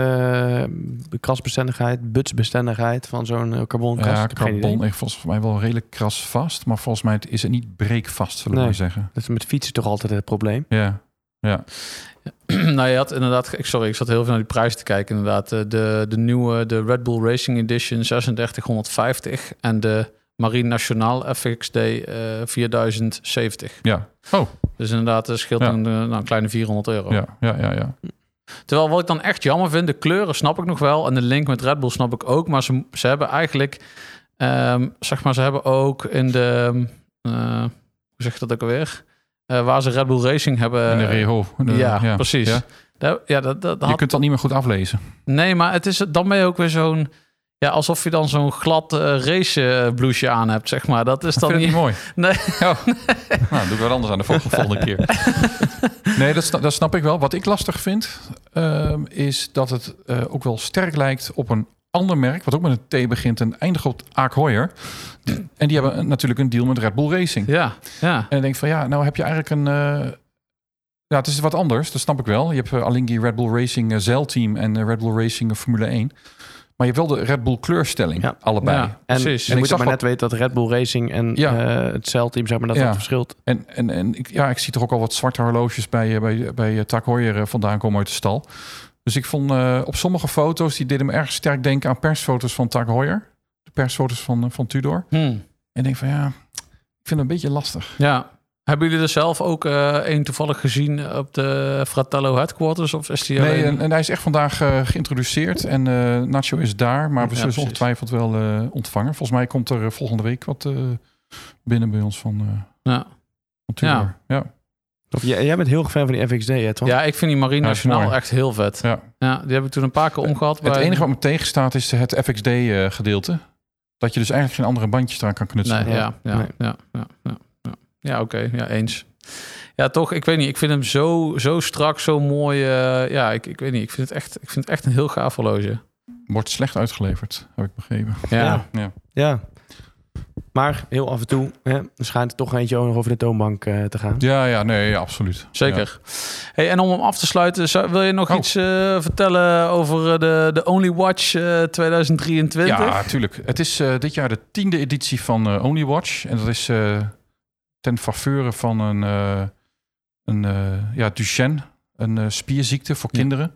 D: de krasbestendigheid, butsbestendigheid van zo'n eh, carbonkast?
C: Ja,
D: Ik heb geen idee.
C: carbon is volgens mij wel redelijk krasvast, maar volgens mij is het niet breekvast, zullen we
D: Nee.
C: maar zeggen.
D: Dat is met fietsen toch altijd het probleem.
C: Ja,
B: nou, je had inderdaad... ge- ik- Sorry, ik zat heel veel naar die prijs te kijken inderdaad. Eh, De, de nieuwe, de Red Bull Racing Edition 3650 en de Marine Nationaal FXD eh 4070.
C: ja. Oh,
B: Dus inderdaad, er scheelt
C: Ja.
B: een, eh, nou, een kleine 400
D: Oh.
B: euro.
C: ja, ja, ja, ja.
B: Terwijl wat ik dan echt jammer vind, de kleuren snap ik nog wel. En de link met Red Bull snap ik ook. Maar ze, ze hebben eigenlijk, ehm, zeg maar, ze hebben ook in de, eh, hoe zeg je dat ook alweer? Eh, waar ze Red Bull Racing hebben.
C: En
D: Eh,
C: de Reho. de-
B: ja, precies.
C: Ja.
B: Daar- ja, dat, dat
C: Je
B: had,
C: kunt dat niet meer goed aflezen.
B: Nee, maar het is, dan ben je ook weer zo'n, ja, alsof je dan zo'n glad eh, race eh, blouseje aan hebt, zeg maar. Dat is dan
C: Dat vind ik
B: niet...
C: niet mooi. *laughs*
B: Nee.
C: Oh. Nou, dan doe ik wat anders aan de volgende, volgende keer. *laughs* Nee, dat, sna- dat snap ik wel. Wat ik lastig vind, ehm, is dat het eh, ook wel sterk lijkt op een ander merk, wat ook met een T begint en eindigt op Aak Hoyer. En die hebben een- natuurlijk een deal met Red Bull Racing.
B: Ja, ja.
C: En ik denk van ja, nou heb je eigenlijk een. eh, ja, het is wat anders, dat snap ik wel. Je hebt eh, alleen die Red Bull Racing eh, zeilteam en eh, Red Bull Racing eh, Formule 1. Maar je hebt wel de Red Bull kleurstelling,
D: Ja.
C: allebei.
B: Ja.
D: En,
B: Precies.
D: en
C: Ik
D: moet je
C: zag
D: maar
C: wat-
D: net weten dat Red Bull Racing en
C: Ja.
D: eh, het zeilteam, zeg maar, dat
C: Ja.
D: dat verschilt.
C: En, en, en ik, ja, ik zie toch ook al wat zwarte horloges bij, eh, bij, bij eh, Tak Heuer, eh, vandaan komen uit de stal. Dus ik vond eh, op sommige foto's, die deden me erg sterk denken aan persfoto's van Tak Heuer. De persfoto's van, eh, van Tudor.
B: Hm.
C: En ik denk van ja, ik vind het een beetje lastig.
B: Ja. Hebben jullie er zelf ook eh een toevallig gezien op de Fratello headquarters? Of is die
C: Nee,
B: alleen-
C: en, en hij is echt vandaag eh, geïntroduceerd en eh, Nacho is daar. Maar we
B: Ja,
C: zullen ze
B: precies.
C: ongetwijfeld wel eh, ontvangen. Volgens mij komt er eh, volgende week wat eh, binnen bij ons van, eh
B: Ja.
C: van Tudor.
B: Ja.
C: ja.
D: Of, jij, jij bent heel erg fan van die FXD, hè, Tom?
B: Ja, ik vind die Marine
C: Ja, dat is
B: Nationaal
C: mooi.
B: echt heel vet.
C: Ja. Eh,
B: die heb ik toen een paar keer omgehad.
C: Het
B: bij-
C: enige wat me tegenstaat is het FXD-gedeelte. eh, Dat je dus eigenlijk geen andere bandjes eraan kan knutselen.
B: Nee, ja, ja, ja,
D: Nee.
B: ja, ja, ja, Ja, oké, ja, eens. Ja, toch, ik weet niet. Ik vind hem zo, zo strak, zo mooi. eh, ja, ik, ik weet niet. Ik vind het echt, ik vind het echt een heel gaaf horloge.
C: Wordt slecht uitgeleverd, heb ik begrepen.
B: Ja, ja.
D: Ja. Ja. Maar heel af en toe hè, schijnt er toch eentje ook nog over de toonbank eh, te gaan.
C: Ja, ja, nee, ja, absoluut.
B: zeker. Hey, en om hem af te sluiten, zou- wil je nog
C: Oh.
B: iets eh, vertellen over eh, de, de Only Watch eh, 2023?
C: Ja, ja tuurlijk. Het is eh, dit jaar de tiende editie van eh, Only Watch. En dat is eh, ten faveur van een, eh een eh, ja, Duchenne, een eh, spierziekte voor kinderen.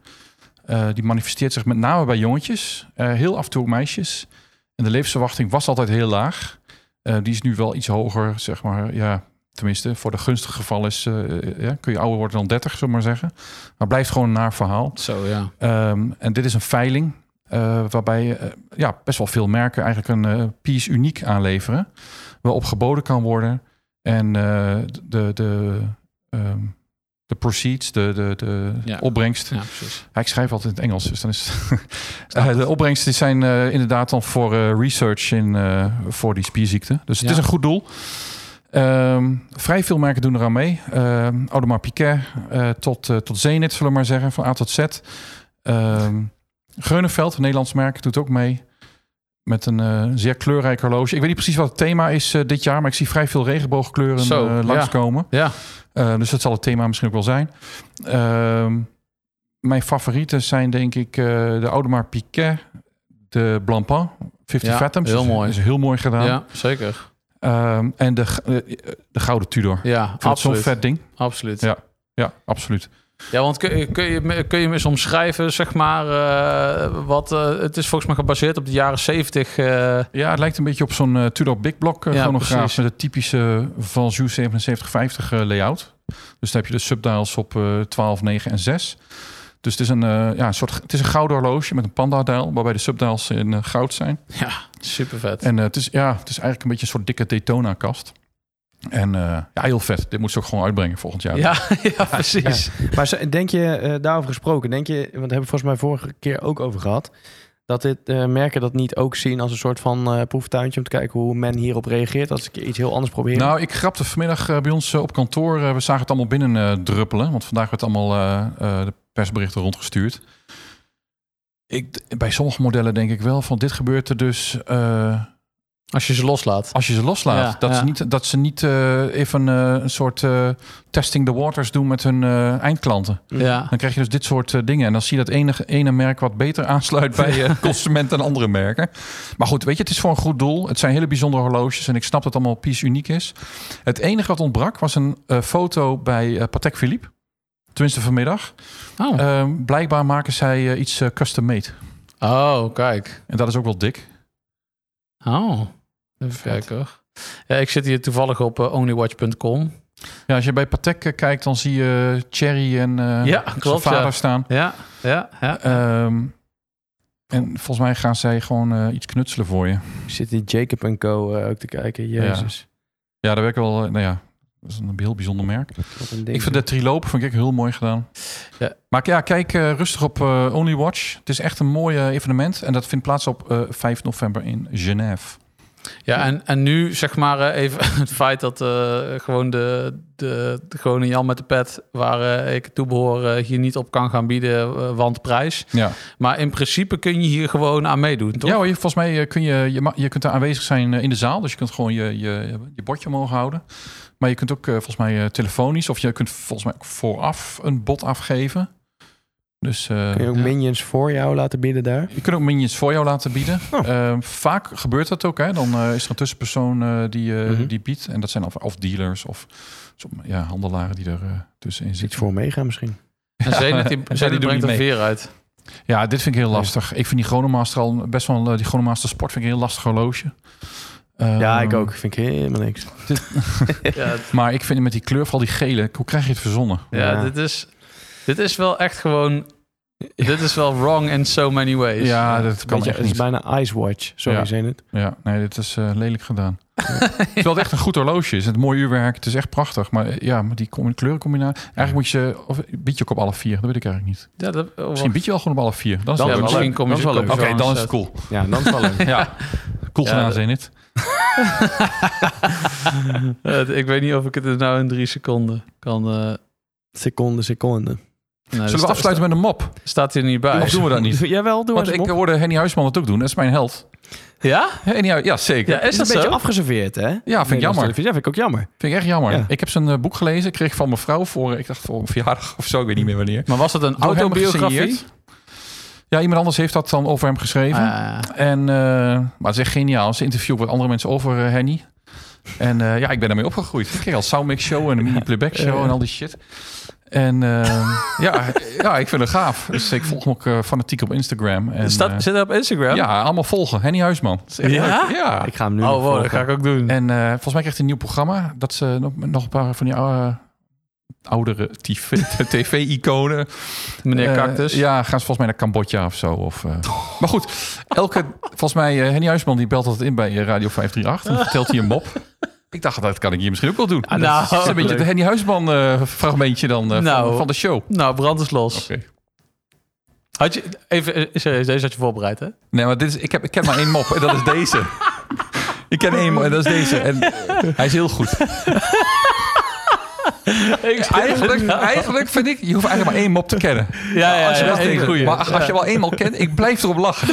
C: Eh, die manifesteert zich met name bij jongetjes, eh, heel af en toe ook meisjes. En de levensverwachting was altijd heel laag. Eh, die is nu wel iets hoger, zeg maar. Ja, tenminste, voor de gunstige geval is, eh, eh, ja, kun je ouder worden dan 30, zullen we maar zeggen. Maar blijft gewoon een naar verhaal.
B: Zo, ja.
C: Ehm, en dit is een veiling eh, waarbij eh, ja, best wel veel merken eigenlijk een eh, piece uniek aanleveren. Waarop geboden kan worden. En eh, de, de, ehm, de proceeds, de, de, de
B: Ja.
C: opbrengst.
B: Ja, precies.
C: Ja, ik schrijf altijd in het Engels, dus dan is het- *laughs* Eh, de opbrengsten die zijn eh, inderdaad dan voor eh, research in, eh, voor die spierziekte. Dus het
B: Ja.
C: is een goed doel. Ehm, vrij veel merken doen eraan mee. Ehm Audemars Piguet eh, tot, eh, tot Zenit, zullen we maar zeggen, van A tot Z. Ehm Geunenveld, een Nederlands merk, doet ook mee. Met een eh, zeer kleurrijk horloge. Ik weet niet precies wat het thema is eh, dit jaar, maar ik zie vrij veel regenboogkleuren
B: Zo,
C: eh,
B: ja.
C: langskomen.
B: Ja,
C: Eh, dus dat zal het thema misschien ook wel zijn. Ehm, mijn favorieten zijn denk ik eh, de Audemars Piguet, de Blancpain, 50
B: Ja,
C: Fathoms.
B: heel mooi.
C: Is heel mooi gedaan.
B: ja, zeker.
C: Ehm, en de, g- eh, de Gouden Tudor. Ik
B: Ja,
C: vind dat Zo'n
B: absoluut.
C: vet ding.
B: absoluut.
C: Ja. Ja, absoluut.
B: Ja, want kun, je- kun, je, me- kun je me eens omschrijven, zeg maar, eh, wat... eh, het is volgens mij gebaseerd op de jaren zeventig. eh,
C: Ja, het lijkt een beetje op zo'n eh, Tudor Big Block eh,
B: Ja,
C: chronograaf
B: precies.
C: met het typische Van 7750 eh, layout. Dus dan heb je de subdials op eh 12, 9 en 6. Dus het is een, eh, ja, een soort, het is een gouden horloge met een panda-dial, waarbij de subdials in eh, goud zijn.
B: Ja, super vet.
C: En eh, het, is, ja, het is eigenlijk een beetje een soort dikke Daytona-kast. En eh, ja, heel vet. Dit moet ze ook gewoon uitbrengen volgend jaar.
B: ja, *laughs* ja, precies.
D: Maar ze- denk je, eh, daarover gesproken, denk je, want daar hebben we volgens mij vorige keer ook over gehad, dat dit eh, merken dat niet ook zien als een soort van eh, proeftuintje om te kijken hoe men hierop reageert als ik iets heel anders probeer?
C: Nou, ik grapte vanmiddag eh, bij ons eh, op kantoor. eh, we zagen het allemaal binnen eh, druppelen. Want vandaag werd allemaal eh, eh, de persberichten rondgestuurd. Ik, bij sommige modellen denk ik wel van dit gebeurt er dus eh,
B: Als je ze loslaat.
C: als je ze loslaat.
B: Ja,
C: dat,
B: ja.
C: Ze niet, dat ze niet eh, even eh, een soort eh, testing the waters doen met hun eh, eindklanten.
B: Ja.
C: Dan krijg je dus dit soort eh, dingen. En dan zie je dat enige, ene merk wat beter aansluit bij eh consumenten en andere merken. Maar goed, weet je, het is voor een goed doel. Het zijn hele bijzondere horloges en ik snap dat het allemaal piece uniek is. Het enige wat ontbrak was een eh, foto bij eh, Patek Philippe. Tenminste vanmiddag.
B: Oh,
C: Ehm, blijkbaar maken zij eh, iets eh, custom made.
B: oh kijk.
C: En dat is ook wel dik.
B: Oh, even kijken hoor. Ja, ik zit hier toevallig op eh, onlywatch.com.
C: Ja, als je bij Patek eh, kijkt, dan zie je Cherry en eh
B: Ja,
C: zijn
B: klopt,
C: vader
B: ja.
C: staan.
B: Ja, ja, ja.
C: Ehm, en volgens mij gaan zij gewoon eh, iets knutselen voor je.
D: Zit die Jacob en Co. eh, ook te kijken? Jezus.
C: Ja, daar werk ik wel. eh, nou ja, dat is een heel bijzonder merk.
D: wat een ding.
C: Ik vind de triloop vond ik heel mooi gedaan.
B: Ja.
C: Maar ja, kijk eh, rustig op eh, Only Watch. Het is echt een mooi eh, evenement. En dat vindt plaats op eh, 5 november in Genève.
B: Ja, en, en nu zeg maar eh, even *laughs* het feit dat eh, gewoon de, de, de gewone Jan met de pet, waar eh, ik toe behoor, eh, hier niet op kan gaan bieden, eh, want prijs.
C: Ja,
B: Maar in principe kun je hier gewoon aan meedoen, toch?
C: ja hoor, je- volgens mij eh, kun je, je, ma- je kunt daar aanwezig zijn eh, in de zaal. Dus je kunt gewoon je, je, je bordje omhoog houden. Maar je kunt ook eh, volgens mij eh, telefonisch. Of je kunt volgens mij ook vooraf een bod afgeven. Dus eh,
D: Kun je ook
B: Ja.
D: minions voor jou laten bidden daar?
C: Je kunt ook minions voor jou laten bieden.
D: Oh.
C: Eh, vaak gebeurt dat ook. Hè? Dan eh, is er een tussenpersoon eh, die, eh,
D: Mhm.
C: die biedt. En dat zijn of, of dealers of som- ja, handelaren die er eh, tussenin
D: Iets
C: zitten.
D: voor meegaan misschien.
B: En
C: *laughs*
B: Zenit, die,
C: Ja,
B: Zenit
C: die doen
B: brengt
C: niet
B: er veer
C: *laughs*
B: uit.
C: Ja, dit vind ik heel
D: Nee.
C: lastig. Ik vind die Chronomaster al best wel... eh, die Chronomaster Sport vind ik een heel lastig horloge.
D: ja, ik
C: Ehm,
D: ook. Vind ik helemaal niks.
B: Ja, het-
C: Maar ik vind met die kleur, vooral die gele... Hoe krijg je het verzonnen?
B: ja,
D: Ja.
B: Dit, is, dit is wel echt gewoon... Dit is wel wrong in so many ways.
C: ja, dat kan
D: Beetje,
C: echt
D: het is
C: niet.
D: bijna Ice Watch. Sorry,
C: Ja.
D: zijn het?
C: Ja, nee, dit is eh, lelijk gedaan. Terwijl het echt een goed horloge is. Het mooie uurwerk, het is echt prachtig. Maar eh, ja, maar die com- kleurencombinatie... Eigenlijk moet je ze... Of bied je ook op alle vier? Dat weet ik eigenlijk niet.
B: Ja, dat, oh, *laughs*
C: Misschien bied je wel gewoon op alle vier. Dan is
B: Dan
C: het
B: wel
C: leuk.
B: misschien kom je
C: Dan
B: ze
C: is het
B: ook
C: leuk.
B: wel
C: Oké,
B: eens
C: dan is
B: uit.
C: het cool.
D: Ja,
C: *laughs*
D: dan is het wel leuk.
C: Ja, cool
B: Ja, nou,
C: gedaan,
B: dat-
C: Zenit.
B: eh, ik weet niet of ik het er nou in drie seconden kan... eh, nee,
D: Seconde, seconde.
B: er
C: Zullen
B: sta-
C: we afsluiten met een mop?
B: sta- Staat hier niet bij.
C: Of doen we dat niet?
D: *laughs* Jawel, doe
C: Want
D: eens
C: ik
D: Bob.
C: hoorde Henny Huisman het ook doen. Dat is mijn held.
B: Ja?
C: Henny Hu- ja, zeker.
B: Ja, is
D: Het
B: dat
D: is een
B: zo?
D: beetje afgeserveerd, hè?
C: Ja, Ah, vind ik jammer.
D: Ja, vind ik ook jammer.
C: Vind ik echt jammer.
D: Ja.
C: Ik heb zijn eh, boek gelezen. Ik kreeg van mijn vrouw voor, eh, ik dacht voor een verjaardag of zo. Ik weet niet meer wanneer.
B: Maar was dat een
C: Door hem
B: autobiografie?
C: gesigneerd. Ja, iemand anders heeft dat dan over hem geschreven.
B: Ah,
C: En, eh, maar het is echt geniaal. Ze interviewt wat andere mensen over eh, Henny. En eh, ja, ik ben daarmee opgegroeid. Ik kreeg al Soundmix Show en een mini playback show en al die shit. En eh, ja, ja, ik vind het gaaf. Dus ik volg hem ook eh, fanatiek op Instagram. En,
B: Staat-
C: eh,
B: zit dat op Instagram?
C: ja, allemaal volgen. Henny Huisman. Dat is echt
B: Ja?
C: leuk. ja.
D: Ik ga hem nu
B: Oh,
D: nog
B: wow,
D: volgen.
B: dat ga ik ook doen.
C: En eh, volgens mij krijgt hij een nieuw programma. Dat ze nog, nog een paar van die oude, oudere TV tv-iconen.
B: Meneer
C: Eh,
B: Cactus.
C: ja, gaan ze volgens mij naar Cambodja of zo. Of, eh. Maar goed, elke, volgens mij, eh, Henny Huisman die belt altijd in bij eh, Radio 538. En dan vertelt hij Ah, een mop. *laughs* Ik dacht, dat kan ik hier misschien ook wel doen.
B: nou,
C: dat is een beetje het Henny Huisman eh, fragmentje dan eh,
B: Nou.
C: van, van de show.
B: Nou, brand is los.
C: Oké.
B: Had je, even, eh, serieus, deze had je voorbereid,
C: *laughs*
B: hè?
C: Nee, maar dit is, ik, heb, ik ken maar één mop en dat is *laughs* deze. Ik ken één mop en dat is deze. En hij is heel *laughs* goed. Eigenlijk, eigenlijk vind ik, je hoeft eigenlijk maar één mop te kennen.
B: Ja, ja,
C: als je
B: ja,
C: dat
B: één
C: denkt.
B: goeie.
C: Maar als
B: Ja.
C: je wel eenmaal kent, ik blijf erop *laughs* lachen.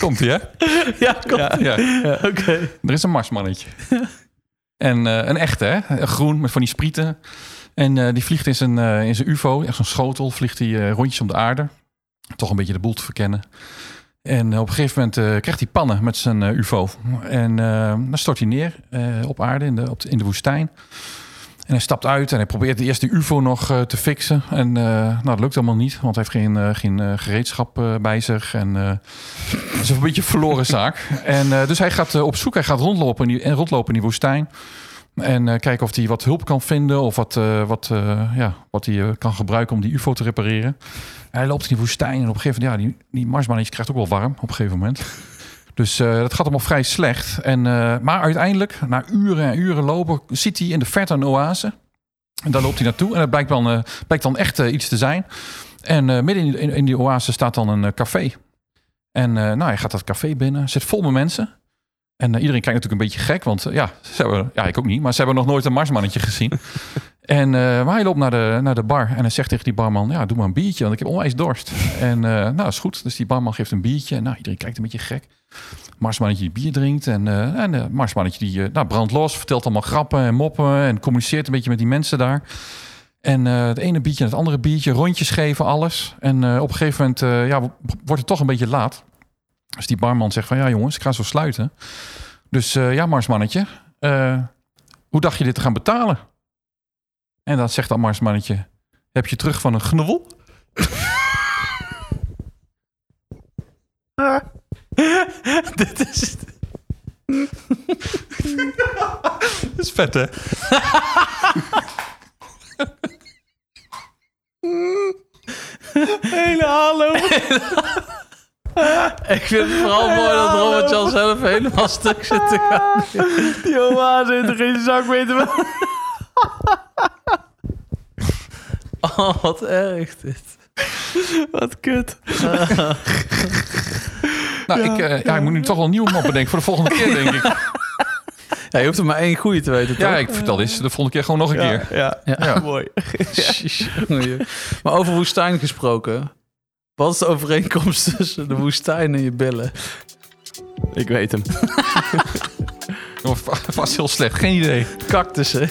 C: Komt ie, hè?
D: *laughs*
B: Ja, kom.
C: Ja.
B: Oké.
C: Er is een marsmannetje. En eh, een echte, hè? Een Groen, met van die sprieten. En eh, die vliegt in zijn, eh, in zijn UFO, echt zo'n schotel, vliegt hij eh, rondjes om de aarde. Toch een beetje de boel te verkennen. En op een gegeven moment eh, krijgt hij pannen met zijn eh, UFO. En eh, dan stort hij neer eh, op aarde in de, op de- in de woestijn. En hij stapt uit en hij probeert eerst die UFO nog eh, te fixen. En eh, nou, dat lukt allemaal niet, want hij heeft geen, eh, geen eh, gereedschap eh, bij zich. En eh, dat is een beetje een verloren zaak. En, eh, dus hij gaat eh, op zoek, hij gaat rondlopen in die, en rondlopen in die woestijn. En eh, kijken of hij wat hulp kan vinden of wat, eh, wat, eh, ja, wat hij eh, kan gebruiken om die UFO te repareren. Hij loopt in die woestijn en op een gegeven moment, ja, die, die Marsmannetje krijgt ook wel warm op een gegeven moment. Dus eh, dat gaat allemaal vrij slecht. En, eh, maar uiteindelijk, na uren en uren lopen, ziet hij in de verte een oase. En daar loopt hij naartoe en dat blijkt dan, eh, blijkt dan echt eh, iets te zijn. En eh, midden in die, in, in die oase staat dan een eh, café. En eh, nou, hij gaat dat café binnen, zit vol met mensen. En eh, iedereen kijkt natuurlijk een beetje gek, want eh, ja, ze hebben, ja, ik ook niet, maar ze hebben nog nooit een marsmannetje gezien. en, eh, maar hij loopt naar de, naar de bar en hij zegt tegen die barman, ja, doe maar een biertje, want ik heb onwijs dorst. en eh, nou, is goed. Dus die barman geeft een biertje en nou, iedereen kijkt een beetje gek. Marsmannetje die bier drinkt en, eh en eh, Marsmannetje die eh, nou, brandt los, vertelt allemaal grappen en moppen en communiceert een beetje met die mensen daar. En eh, het ene biertje en het andere biertje, rondjes geven, alles. En eh, op een gegeven moment eh, ja, wordt het toch een beetje laat. Dus die barman zegt van ja jongens, ik ga zo sluiten. Dus eh, ja Marsmannetje, eh, hoe dacht je dit te gaan betalen? En dan zegt dat Marsmannetje, heb je terug van een gnubbel?
B: Dit is het.
C: Dat is vet hè?
D: Hele hallo.
B: Ik vind het vooral mooi dat Robert Jan zelf helemaal stuk zit te
C: *laughs*
B: gaan.
D: Die oase heeft er geen zak mee te maken.
B: Oh, wat erg dit.
D: Wat kut.
C: Nou, ik, eh, ja, ik moet nu toch wel een nieuwe mop bedenken voor de volgende keer denk *laughs* ik.
B: Ja, je hoeft er maar één goede te weten, toch?
C: Ja,
B: *laughs*
C: ik vertel dit de volgende keer gewoon nog een keer.
D: ja,
C: Ja.
D: mooi.
B: Jongen, maar over woestijn gesproken. Wat is de overeenkomst *laughs* tussen de woestijn en je billen?
D: Ik weet *laughs* hem.
C: *laughs* Oh, va- Vast heel slecht, geen idee.
B: Cactussen.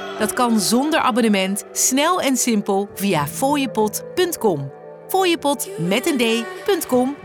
A: Dat kan zonder abonnement, snel en simpel via fooiepot.com. Fooiepot met een d.com